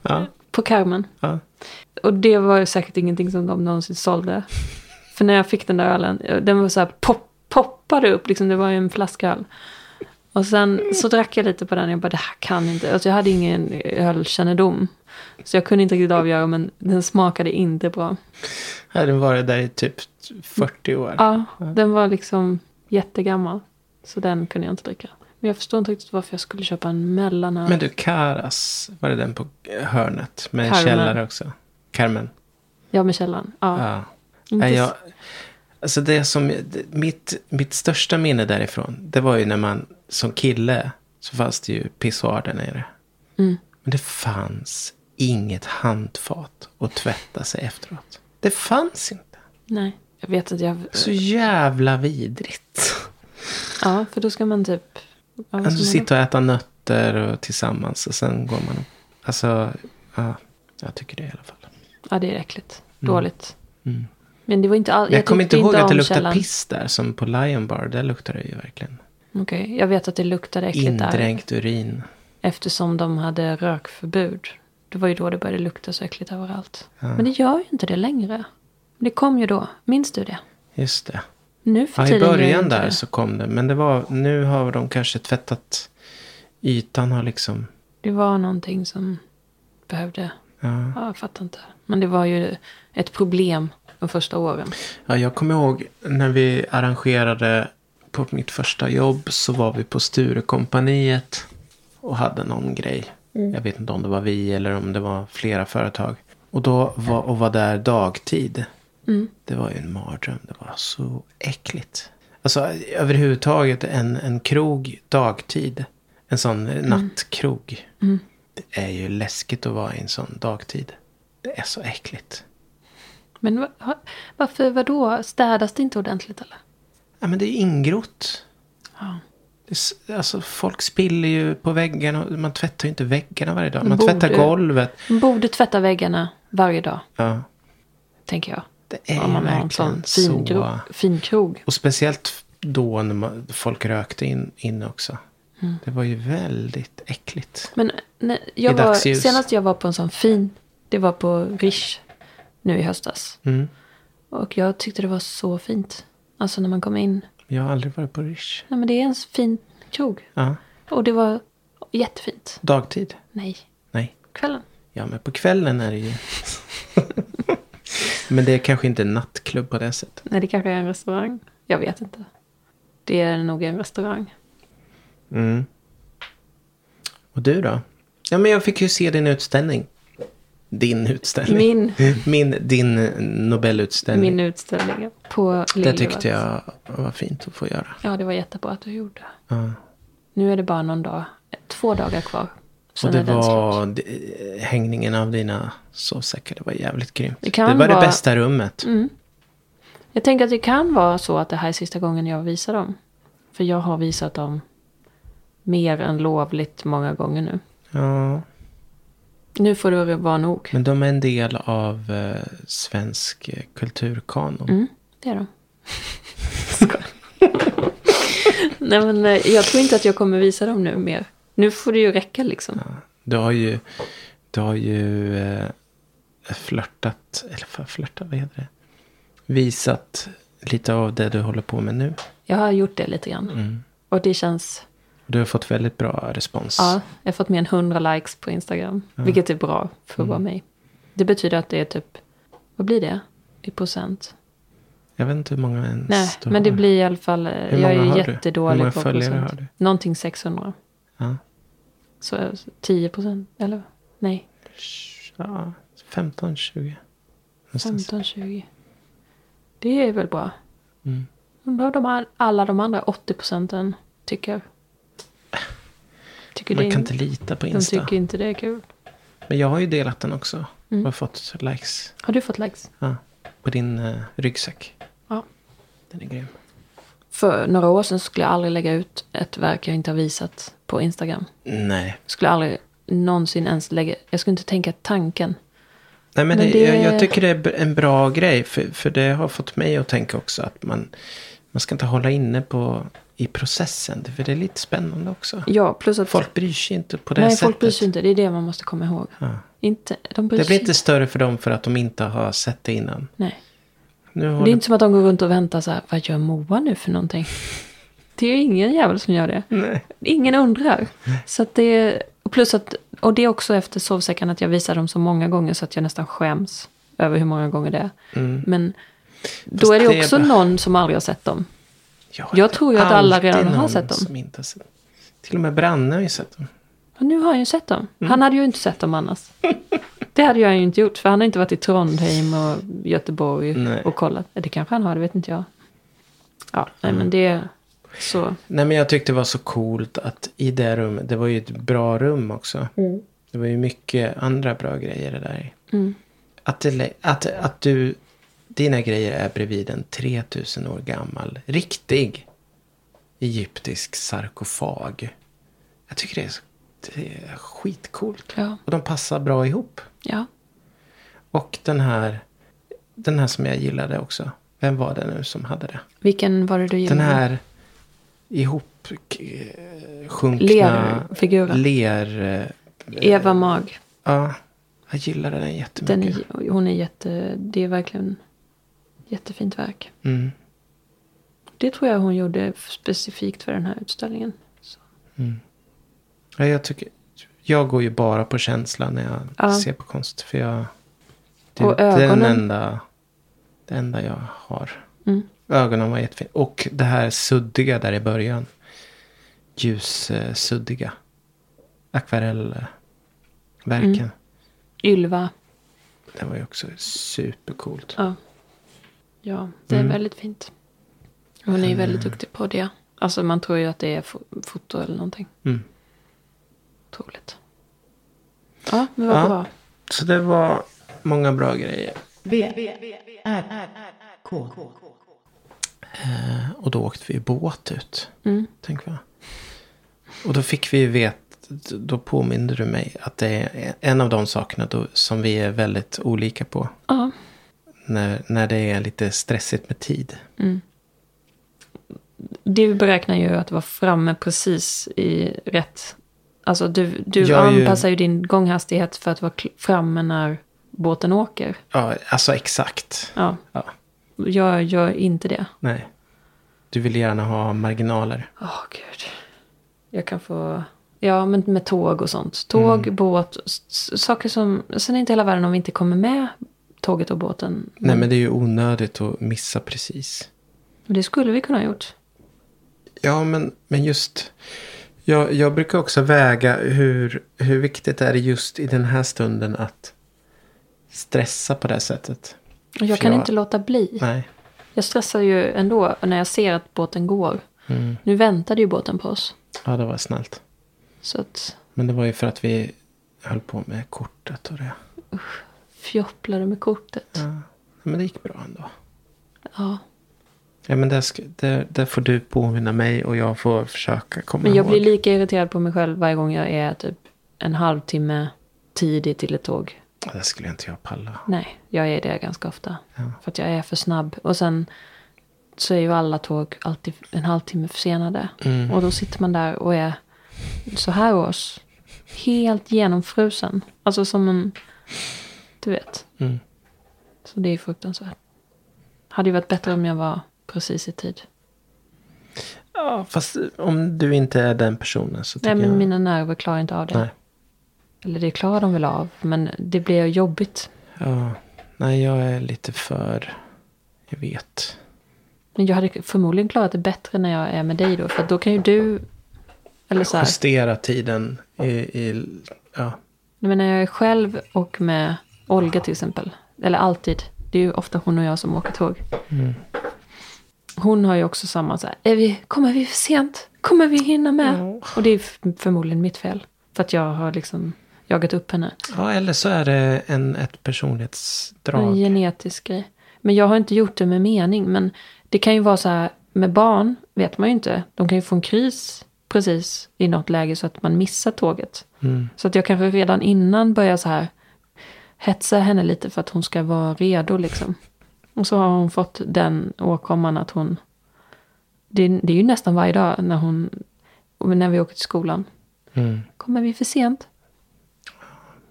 [SPEAKER 3] ja,
[SPEAKER 2] På Carmen.
[SPEAKER 3] ja.
[SPEAKER 2] Och det var ju säkert ingenting som de någonsin sålde. För när jag fick den där ölen, den var så här pop, poppade upp, liksom det var ju en flaska öl. Och sen så drack jag lite på den och jag bara det här kan inte, alltså jag hade ingen ölkännedom. Så jag kunde inte riktigt avgöra men den smakade inte bra.
[SPEAKER 3] Hade den varit där i typ 40 år.
[SPEAKER 2] Ja, den var liksom jättegammal. Så den kunde jag inte dricka. Men jag förstår inte riktigt varför jag skulle köpa en mellanöl.
[SPEAKER 3] Men du, Karas, var det den på hörnet? Med en
[SPEAKER 2] Carmen.
[SPEAKER 3] källare också. Carmen.
[SPEAKER 2] Ja, med källan. Ja.
[SPEAKER 3] Ja.
[SPEAKER 2] Inte
[SPEAKER 3] Nej,
[SPEAKER 2] s-
[SPEAKER 3] jag, alltså det som, det- mitt, mitt största minne därifrån, det var ju när man som kille, så fanns det ju pissoar där nere.
[SPEAKER 2] Mm.
[SPEAKER 3] Men det fanns inget handfat att tvätta sig efteråt. Det fanns inte.
[SPEAKER 2] Nej, jag vet att jag...
[SPEAKER 3] Så jävla vidrigt.
[SPEAKER 2] Ja, för då ska man typ... Ja, vad ska
[SPEAKER 3] Alltså
[SPEAKER 2] man-
[SPEAKER 3] sitta och äta nötter och tillsammans och sen går man och- Alltså, ja, jag tycker det i alla fall.
[SPEAKER 2] Ja, det är äckligt. Dåligt. Men det var inte all...
[SPEAKER 3] Mm. Jag, kommer inte
[SPEAKER 2] tyckte
[SPEAKER 3] ihåg att det
[SPEAKER 2] om
[SPEAKER 3] luktar
[SPEAKER 2] källan.
[SPEAKER 3] piss där, som på Lion Bar. Där luktar det ju verkligen.
[SPEAKER 2] Okej, jag vet att det luktade äckligt där.
[SPEAKER 3] Indränkt urin.
[SPEAKER 2] Eftersom de hade rökförbud. Det var ju då det började lukta så äckligt överallt. Men det gör ju inte det längre. Det kom ju då. Minns du det?
[SPEAKER 3] Just det.
[SPEAKER 2] Nu för
[SPEAKER 3] Ja, i
[SPEAKER 2] tiden gör ju
[SPEAKER 3] början
[SPEAKER 2] inte
[SPEAKER 3] där
[SPEAKER 2] det.
[SPEAKER 3] så kom det. Men det var, nu har de kanske tvättat. Ytan har liksom.
[SPEAKER 2] Det var någonting som behövde...
[SPEAKER 3] Ja.
[SPEAKER 2] Ja, jag fattar inte. Men det var ju ett problem de första åren.
[SPEAKER 3] Ja, jag kommer ihåg när vi arrangerade på mitt första jobb så var vi på Sturecompagniet och hade någon grej. Jag vet inte om det var vi eller om det var flera företag. Och då var, och var där dagtid. Det var ju en mardröm. Det var så äckligt. Alltså överhuvudtaget en, en krog dagtid. En sån nattkrog. Det är ju läskigt att vara i en sån dagtid. Det är så äckligt.
[SPEAKER 2] Men va- ha- varför, vadå? Städas det inte ordentligt eller?
[SPEAKER 3] Ja, men det är ingrott.
[SPEAKER 2] Ja.
[SPEAKER 3] Det är s- Alltså, folk spiller ju på väggarna. och Man tvättar ju inte väggarna varje dag. Man
[SPEAKER 2] Borde.
[SPEAKER 3] tvättar golvet.
[SPEAKER 2] Man borde tvätta väggarna varje dag,
[SPEAKER 3] Ja,
[SPEAKER 2] tänker jag.
[SPEAKER 3] det är
[SPEAKER 2] Om
[SPEAKER 3] ju
[SPEAKER 2] man har
[SPEAKER 3] verkligen
[SPEAKER 2] en sån
[SPEAKER 3] så.
[SPEAKER 2] fin, krog, fin krog.
[SPEAKER 3] Och speciellt då när man, folk rökte in, in också.
[SPEAKER 2] Mm.
[SPEAKER 3] Det var ju väldigt äckligt.
[SPEAKER 2] Men nej, jag
[SPEAKER 3] I
[SPEAKER 2] var,
[SPEAKER 3] dagsljus.
[SPEAKER 2] senast jag var på en sån fin, det var på Rish nu i höstas.
[SPEAKER 3] Mm.
[SPEAKER 2] Och jag tyckte det var så fint. Alltså när man kom in.
[SPEAKER 3] Jag har aldrig varit på Rish.
[SPEAKER 2] Nej men det är en fin krog.
[SPEAKER 3] Ja.
[SPEAKER 2] Och det var jättefint.
[SPEAKER 3] Dagtid?
[SPEAKER 2] Nej,
[SPEAKER 3] Nej.
[SPEAKER 2] kvällen.
[SPEAKER 3] Ja, men på kvällen är det ju... men det är kanske inte en nattklubb på det sättet.
[SPEAKER 2] Nej, det kanske är en restaurang. Jag vet inte. Det är nog en restaurang.
[SPEAKER 3] Mm. Och du då? Ja, men jag fick ju se din utställning. Din utställning.
[SPEAKER 2] Min,
[SPEAKER 3] Min, din Nobelutställning.
[SPEAKER 2] min alltså. utställning på
[SPEAKER 3] det
[SPEAKER 2] Liljevalchs.
[SPEAKER 3] tyckte jag var fint att få göra.
[SPEAKER 2] Ja, det var jättebra att du gjorde.
[SPEAKER 3] Ja.
[SPEAKER 2] Nu är det bara någon dag, två dagar kvar. Sen
[SPEAKER 3] Och det
[SPEAKER 2] är den slut.
[SPEAKER 3] var d- hängningen av dina sovsäckar. Det var jävligt grymt.
[SPEAKER 2] Det
[SPEAKER 3] Det,
[SPEAKER 2] kan
[SPEAKER 3] var
[SPEAKER 2] vara-
[SPEAKER 3] det bästa rummet.
[SPEAKER 2] Jag tänker att det kan vara så att det här är sista gången jag visar dem. För jag har visat dem mer än lovligt många gånger nu.
[SPEAKER 3] Ja,
[SPEAKER 2] Nu får det vara nog.
[SPEAKER 3] men de är en del av eh, svensk eh, kulturkanon.
[SPEAKER 2] Mm, det är de. Skoj. Nej men eh, jag tror inte att jag kommer visa dem nu mer. Nu får det ju räcka liksom.
[SPEAKER 3] Du har ju, du har ju eh, flörtat, eller för- flörtat, vad heter det? Visat lite av det du håller på med nu.
[SPEAKER 2] Jag har gjort det lite grann. Och det känns...
[SPEAKER 3] Du har fått väldigt bra respons.
[SPEAKER 2] Ja, jag har fått mer än 100 likes på Instagram. Vilket är typ bra för att vara
[SPEAKER 3] Mm.
[SPEAKER 2] mig. Det betyder att det är typ... Vad blir det? I procent?
[SPEAKER 3] Jag vet inte hur många ens
[SPEAKER 2] Nej,
[SPEAKER 3] du
[SPEAKER 2] men det
[SPEAKER 3] har.
[SPEAKER 2] blir i alla fall... Hur jag
[SPEAKER 3] många har
[SPEAKER 2] är
[SPEAKER 3] du? Hur
[SPEAKER 2] jättedålig
[SPEAKER 3] många
[SPEAKER 2] på
[SPEAKER 3] följare
[SPEAKER 2] procent.
[SPEAKER 3] har du?
[SPEAKER 2] Någonting 600.
[SPEAKER 3] Ja.
[SPEAKER 2] Så 10 procent, eller? Nej,
[SPEAKER 3] Ja, 15-20.
[SPEAKER 2] 15-20. Det är väl bra.
[SPEAKER 3] Mm.
[SPEAKER 2] Undrar vad de här, alla de andra 80 procenten tycker. tycker
[SPEAKER 3] Man
[SPEAKER 2] det,
[SPEAKER 3] kan inte lita på
[SPEAKER 2] de
[SPEAKER 3] Insta.
[SPEAKER 2] tycker Mm. inte det är kul.
[SPEAKER 3] Men jag har ju delat den också. Och fått likes
[SPEAKER 2] Har du fått likes?
[SPEAKER 3] ja, på din eh, ryggsäck.
[SPEAKER 2] Ja.
[SPEAKER 3] Den är grym.
[SPEAKER 2] För några år sedan skulle jag aldrig lägga ut ett verk jag inte har visat på Instagram.
[SPEAKER 3] Nej.
[SPEAKER 2] Skulle aldrig någonsin ens lägga... Jag skulle inte tänka tanken.
[SPEAKER 3] Nej men,
[SPEAKER 2] Men
[SPEAKER 3] det,
[SPEAKER 2] det-
[SPEAKER 3] Jag, jag tycker det är b- en bra grej. För, för det har fått mig att tänka också att man, man ska inte hålla inne på i processen. För det är lite spännande också.
[SPEAKER 2] Ja, plus att...
[SPEAKER 3] Folk bryr sig inte på det
[SPEAKER 2] nej,
[SPEAKER 3] sättet.
[SPEAKER 2] folk bryr sig inte. Det är det man måste komma ihåg.
[SPEAKER 3] Ja.
[SPEAKER 2] Inte, de bryr
[SPEAKER 3] Det
[SPEAKER 2] sig
[SPEAKER 3] blir inte större för dem för att de inte har sett det innan.
[SPEAKER 2] Nej.
[SPEAKER 3] Nu
[SPEAKER 2] Det är
[SPEAKER 3] håller
[SPEAKER 2] inte som att de går runt och väntar så här, vad gör Moa nu för någonting? Det är ju ingen jävel som gör det.
[SPEAKER 3] Nej.
[SPEAKER 2] Ingen undrar. Så att det är, och plus att, och det är också efter sovsäcken att jag visar dem så många gånger så att jag nästan skäms över hur många gånger det är. Men då
[SPEAKER 3] Mm. Fast
[SPEAKER 2] är det
[SPEAKER 3] det är
[SPEAKER 2] också
[SPEAKER 3] bara-
[SPEAKER 2] någon som aldrig har sett dem.
[SPEAKER 3] Ja,
[SPEAKER 2] Jag
[SPEAKER 3] det
[SPEAKER 2] tror ju
[SPEAKER 3] är
[SPEAKER 2] att alla
[SPEAKER 3] alltid
[SPEAKER 2] redan har
[SPEAKER 3] någon
[SPEAKER 2] sett dem.
[SPEAKER 3] Som inte har sett. Till och med Branne har ju sett dem.
[SPEAKER 2] Och nu har jag ju sett dem.
[SPEAKER 3] Mm.
[SPEAKER 2] Han hade ju inte sett dem annars. Det hade jag ju inte gjort, för han har inte varit i Trondheim och Göteborg
[SPEAKER 3] Nej.
[SPEAKER 2] och kollat. Det kanske han har, det vet inte jag. Ja, nej
[SPEAKER 3] Mm.
[SPEAKER 2] men det är så.
[SPEAKER 3] Nej men jag tyckte det var så coolt att i det rummet, det var ju ett bra rum också. Det var ju mycket andra bra grejer det där. Mm. Att, det, lä- att, att du, dina grejer är bredvid en 3000 år gammal, riktig egyptisk sarkofag. Jag tycker det är, så- det är skitcoolt.
[SPEAKER 2] Ja,
[SPEAKER 3] Och de passar bra ihop.
[SPEAKER 2] ja.
[SPEAKER 3] Och den här, den här som jag gillade också. Vem var det nu som hade det?
[SPEAKER 2] Vilken var det du gillade?
[SPEAKER 3] Den här ihop eh, sjunkna
[SPEAKER 2] Lerfiguren.
[SPEAKER 3] ler... eh,
[SPEAKER 2] Eva Mag.
[SPEAKER 3] Ja, jag gillade den jättemycket.
[SPEAKER 2] Den är, hon är jätte... Det är verkligen jättefint verk.
[SPEAKER 3] Mm.
[SPEAKER 2] Det tror jag hon gjorde specifikt för den här utställningen. Så.
[SPEAKER 3] ja, jag, tycker, jag går ju bara på känsla när jag
[SPEAKER 2] Ja.
[SPEAKER 3] ser på konst. För jag... Det
[SPEAKER 2] Och
[SPEAKER 3] är den
[SPEAKER 2] ögonen.
[SPEAKER 3] enda, det enda jag har.
[SPEAKER 2] Mm.
[SPEAKER 3] Ögonen var jättefina. Och det här suddiga där i början. Ljussuddiga. Akvarellverken.
[SPEAKER 2] Mm. Ylva.
[SPEAKER 3] Det var ju också supercoolt.
[SPEAKER 2] Ja. Ja, det
[SPEAKER 3] Mm.
[SPEAKER 2] är väldigt fint. Hon är ju väldigt duktig på det. Alltså man tror ju att det är fo- foto eller någonting.
[SPEAKER 3] Mm.
[SPEAKER 2] Otroligt. Ja, det var
[SPEAKER 3] Ja.
[SPEAKER 2] bra.
[SPEAKER 3] Så det var många bra grejer.
[SPEAKER 1] V, V, V, R, R, R, K.
[SPEAKER 3] Eh, Och då åkte vi båt ut.
[SPEAKER 2] Mm.
[SPEAKER 3] Tänk vad. Och då fick vi veta, då påminde du mig att det är en av de sakerna då, som vi är väldigt olika på.
[SPEAKER 2] Ja.
[SPEAKER 3] När, när det är lite stressigt med tid.
[SPEAKER 2] Du beräknar ju att vara framme precis i rätt... Alltså du, du
[SPEAKER 3] Jag är ju-
[SPEAKER 2] anpassar ju din gånghastighet för att vara kl- framme när båten åker.
[SPEAKER 3] Ja, alltså exakt.
[SPEAKER 2] Ja,
[SPEAKER 3] Ja,
[SPEAKER 2] jag gör inte det.
[SPEAKER 3] nej. Du vill gärna ha marginaler.
[SPEAKER 2] Åh gud. Jag kan få... Ja, men med tåg och sånt. Tåg,
[SPEAKER 3] Mm.
[SPEAKER 2] båt, s- s- saker som... Sen är inte hela världen om vi inte kommer med tåget och båten.
[SPEAKER 3] Nej, men det är ju onödigt att missa precis.
[SPEAKER 2] Men det skulle vi kunna ha gjort.
[SPEAKER 3] Ja, men, men just... Jag, jag brukar också väga hur, hur viktigt är det just i den här stunden att stressa på det här sättet.
[SPEAKER 2] Och Jag
[SPEAKER 3] För
[SPEAKER 2] kan
[SPEAKER 3] jag-
[SPEAKER 2] inte låta bli.
[SPEAKER 3] Nej.
[SPEAKER 2] Jag stressar ju ändå när jag ser att båten går.
[SPEAKER 3] Mm.
[SPEAKER 2] Nu väntade ju båten på oss.
[SPEAKER 3] Ja, det var snällt.
[SPEAKER 2] Så att
[SPEAKER 3] Men det var ju för att vi höll på med kortet och det.
[SPEAKER 2] fjopplade med kortet.
[SPEAKER 3] Ja. Men det gick bra ändå.
[SPEAKER 2] Ja.
[SPEAKER 3] Ja, men där, sk- där, där får du påminna mig och jag får försöka komma
[SPEAKER 2] Men jag
[SPEAKER 3] ihåg.
[SPEAKER 2] blir lika irriterad på mig själv varje gång jag är typ en halvtimme tidig till ett tåg.
[SPEAKER 3] Ja, Det skulle inte jag palla.
[SPEAKER 2] Nej, jag är det ganska ofta. För att jag är för snabb. Och sen så är ju alla tåg alltid en halvtimme försenade.
[SPEAKER 3] Mm.
[SPEAKER 2] Och då sitter man där och är så här års. Helt genomfrusen. Alltså som en... Du vet.
[SPEAKER 3] Mm.
[SPEAKER 2] Så det är fruktansvärt. Hade ju varit bättre om jag var precis i tid.
[SPEAKER 3] Ja, fast om du inte är den personen så tycker
[SPEAKER 2] Nej, men
[SPEAKER 3] jag...
[SPEAKER 2] mina nerver klarar inte av det.
[SPEAKER 3] Nej.
[SPEAKER 2] Eller det klarar de väl av, men det blir jobbigt.
[SPEAKER 3] Ja, nej, jag är lite för... Jag vet.
[SPEAKER 2] Men jag hade förmodligen klarat det bättre när jag är med dig då, för då kan ju du... Eller så här,
[SPEAKER 3] Justera tiden i... i ja.
[SPEAKER 2] jag menar, jag är själv och med Olga till exempel. Eller alltid. Det är ju ofta hon och jag som åker tåg.
[SPEAKER 3] Mm.
[SPEAKER 2] Hon har ju också samma så här, är vi, kommer vi för sent? Kommer vi hinna med? Och det är f- förmodligen mitt fel. För att jag har liksom jagat upp henne.
[SPEAKER 3] ja, eller så är det en, ett personlighetsdrag.
[SPEAKER 2] En genetisk grej. Men jag har inte gjort det med mening. Men det kan ju vara så här, med barn vet man ju inte. De kan ju få en kris precis i något läge så att man missar tåget. Så att jag kanske redan innan börjar så här hetsa henne lite för att hon ska vara redo liksom. Och så har hon fått den åkomman att hon... Det, är- det är ju nästan varje dag när hon... När vi åker till skolan.
[SPEAKER 3] Mm,
[SPEAKER 2] Kommer vi för sent?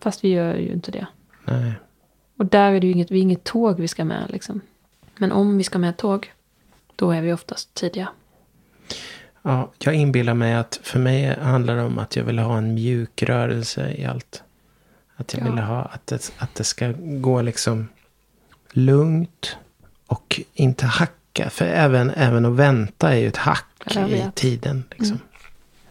[SPEAKER 2] Fast vi gör ju inte det.
[SPEAKER 3] nej.
[SPEAKER 2] Och där är det ju inget, vi är inget tåg vi ska med liksom. Men om vi ska med tåg, då är vi oftast tidiga.
[SPEAKER 3] Ja, jag inbillar mig att för mig handlar det om att jag vill ha en mjuk rörelse i allt. Att jag
[SPEAKER 2] Ja.
[SPEAKER 3] vill ha att det, att det ska gå liksom lugnt och inte hacka. För även, även att vänta är ju ett hack
[SPEAKER 2] Jag
[SPEAKER 3] i
[SPEAKER 2] vet.
[SPEAKER 3] tiden. Liksom.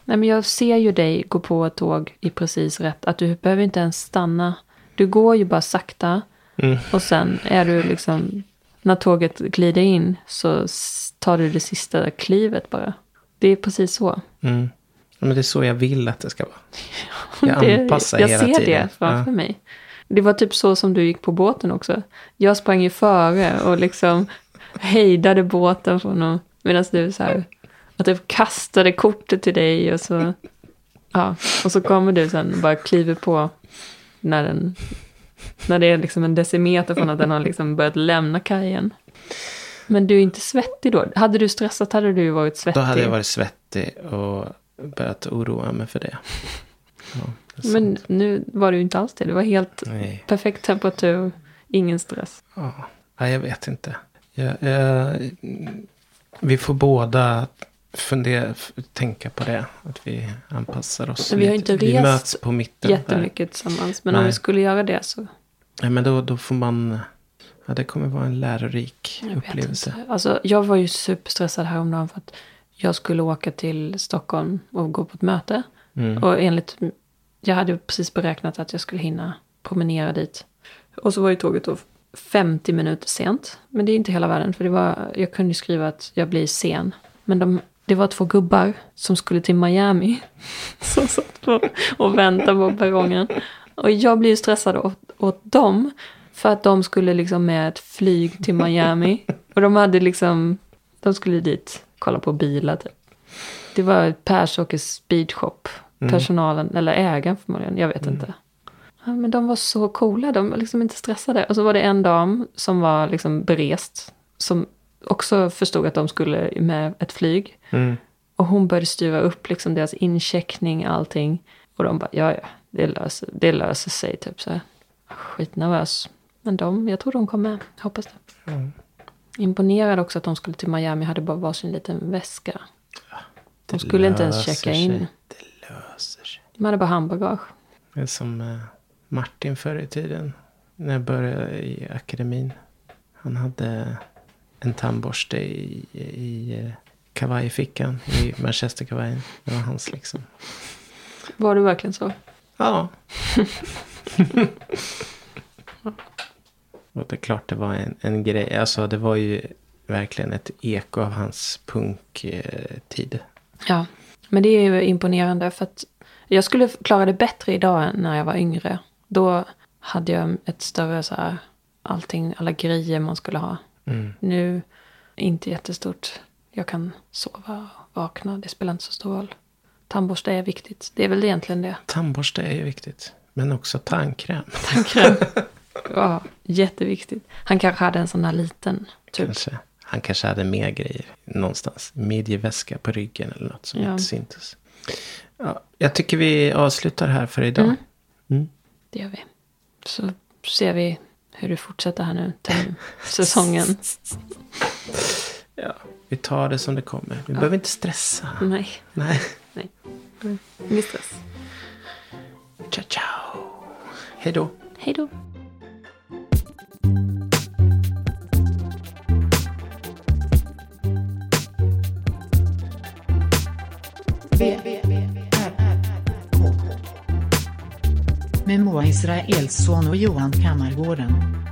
[SPEAKER 2] Nej men jag ser ju dig gå på ett tåg i precis rätt, att du behöver inte ens stanna. Du går ju bara sakta
[SPEAKER 3] Mm.
[SPEAKER 2] och sen är du liksom, när tåget glider in så s- tar du det sista klivet bara. Det är precis så.
[SPEAKER 3] Mm. Ja, Men det är så jag vill att det ska vara. Jag
[SPEAKER 2] Det-
[SPEAKER 3] anpassar
[SPEAKER 2] jag
[SPEAKER 3] hela
[SPEAKER 2] ser
[SPEAKER 3] tiden.
[SPEAKER 2] det framför mig. Det var typ så som du gick på båten också. Jag sprang ju före och liksom hejdade båten från att, medan du så här, och typ kastade kortet till dig och så, ja, och så kommer du sen och bara kliver på när den, när det är liksom en decimeter från att den har liksom börjat lämna kajen. Men du är inte svettig då. Hade du stressat hade du ju varit svettig.
[SPEAKER 3] Då hade jag varit svettig och börjat oroa mig för det. Ja, det är
[SPEAKER 2] Men
[SPEAKER 3] sant.
[SPEAKER 2] nu var du ju inte alls det. Det var helt
[SPEAKER 3] Nej.
[SPEAKER 2] Perfekt temperatur, ingen stress.
[SPEAKER 3] Ja, nej, jag vet inte. Jag, eh, vi får båda fundera, f- tänka på det. Att vi anpassar oss.
[SPEAKER 2] Men vi har
[SPEAKER 3] lite.
[SPEAKER 2] inte
[SPEAKER 3] vi
[SPEAKER 2] rest
[SPEAKER 3] möts på mitten. där.
[SPEAKER 2] Jättemycket tillsammans. Men om
[SPEAKER 3] Nej.
[SPEAKER 2] vi skulle göra det så...
[SPEAKER 3] Nej, men då, då får man... Ja, det kommer vara en lärorik
[SPEAKER 2] Jag vet
[SPEAKER 3] upplevelse.
[SPEAKER 2] inte. Alltså, jag var ju superstressad häromdagen för att jag skulle åka till Stockholm och gå på ett möte.
[SPEAKER 3] Mm.
[SPEAKER 2] Och enligt... Jag hade ju precis beräknat att jag skulle hinna promenera dit. Och så var ju tåget då 50 minuter sent. Men det är inte hela världen. För det var, jag kunde ju skriva att jag blir sen. Men de, det var två gubbar som skulle till Miami. Som satt på och väntade på perrongen. Och jag blir ju stressad åt, åt dem. För att de skulle liksom med ett flyg till Miami. Och de hade liksom, de skulle dit kolla på bilar typ. Det var Persåkers speedshop. Personalen, eller ägaren förmodligen, jag vet inte. Ja, men de var så coola, de var liksom inte stressade. Och så var det en dam som var liksom berest. Som också förstod att de skulle med ett flyg.
[SPEAKER 3] Mm.
[SPEAKER 2] Och hon började styra upp liksom deras incheckning, allting. Och de bara, ja ja, det löser, det löser sig typ så här. Skitnervös. Men de, jag tror de kom med, hoppas det.
[SPEAKER 3] Mm.
[SPEAKER 2] Imponerad också att de skulle till Miami, hade bara varsin liten väska. De skulle inte ens
[SPEAKER 3] löser
[SPEAKER 2] checka
[SPEAKER 3] sig.
[SPEAKER 2] in.
[SPEAKER 3] Det löser sig.
[SPEAKER 2] De hade bara handbagage.
[SPEAKER 3] Det är som eh, Martin förr i tiden. När jag började i akademin. Han hade en tandborste i, i eh, kavajfickan. I manchesterkavajen. Det var hans liksom.
[SPEAKER 2] Var det verkligen så?
[SPEAKER 3] Ja. Och det är klart det var en, en grej. Alltså det var ju verkligen ett eko av hans eh, punktid.
[SPEAKER 2] Ja, men det är ju imponerande för att jag skulle klara det bättre idag än när jag var yngre. Då hade jag ett större så här, allting, alla grejer man skulle ha. Nu, inte jättestort. Jag kan sova och vakna, det spelar inte så stor roll. Tandborste är viktigt, det är väl egentligen det.
[SPEAKER 3] Tandborste är ju viktigt. Men också tandkräm.
[SPEAKER 2] Tandkräm. ja, jätteviktigt. Han kanske hade en sån här liten, typ.
[SPEAKER 3] Kanske. Han kanske hade mer grejer någonstans. Midjeväska på ryggen eller något som
[SPEAKER 2] Ja.
[SPEAKER 3] inte syntes. Ja, jag tycker vi avslutar här för idag.
[SPEAKER 2] Det gör vi. Så ser vi hur det fortsätter här nu, termin- säsongen.
[SPEAKER 3] Ja, vi tar det som det kommer. Vi behöver inte stressa.
[SPEAKER 2] Nej.
[SPEAKER 3] Nej.
[SPEAKER 2] Nej. Ingen stress.
[SPEAKER 3] Ciao, ciao. Hej då.
[SPEAKER 2] Hej då.
[SPEAKER 1] V, V, R, R, K. Med Moa Israelsson och Johan Kammargården.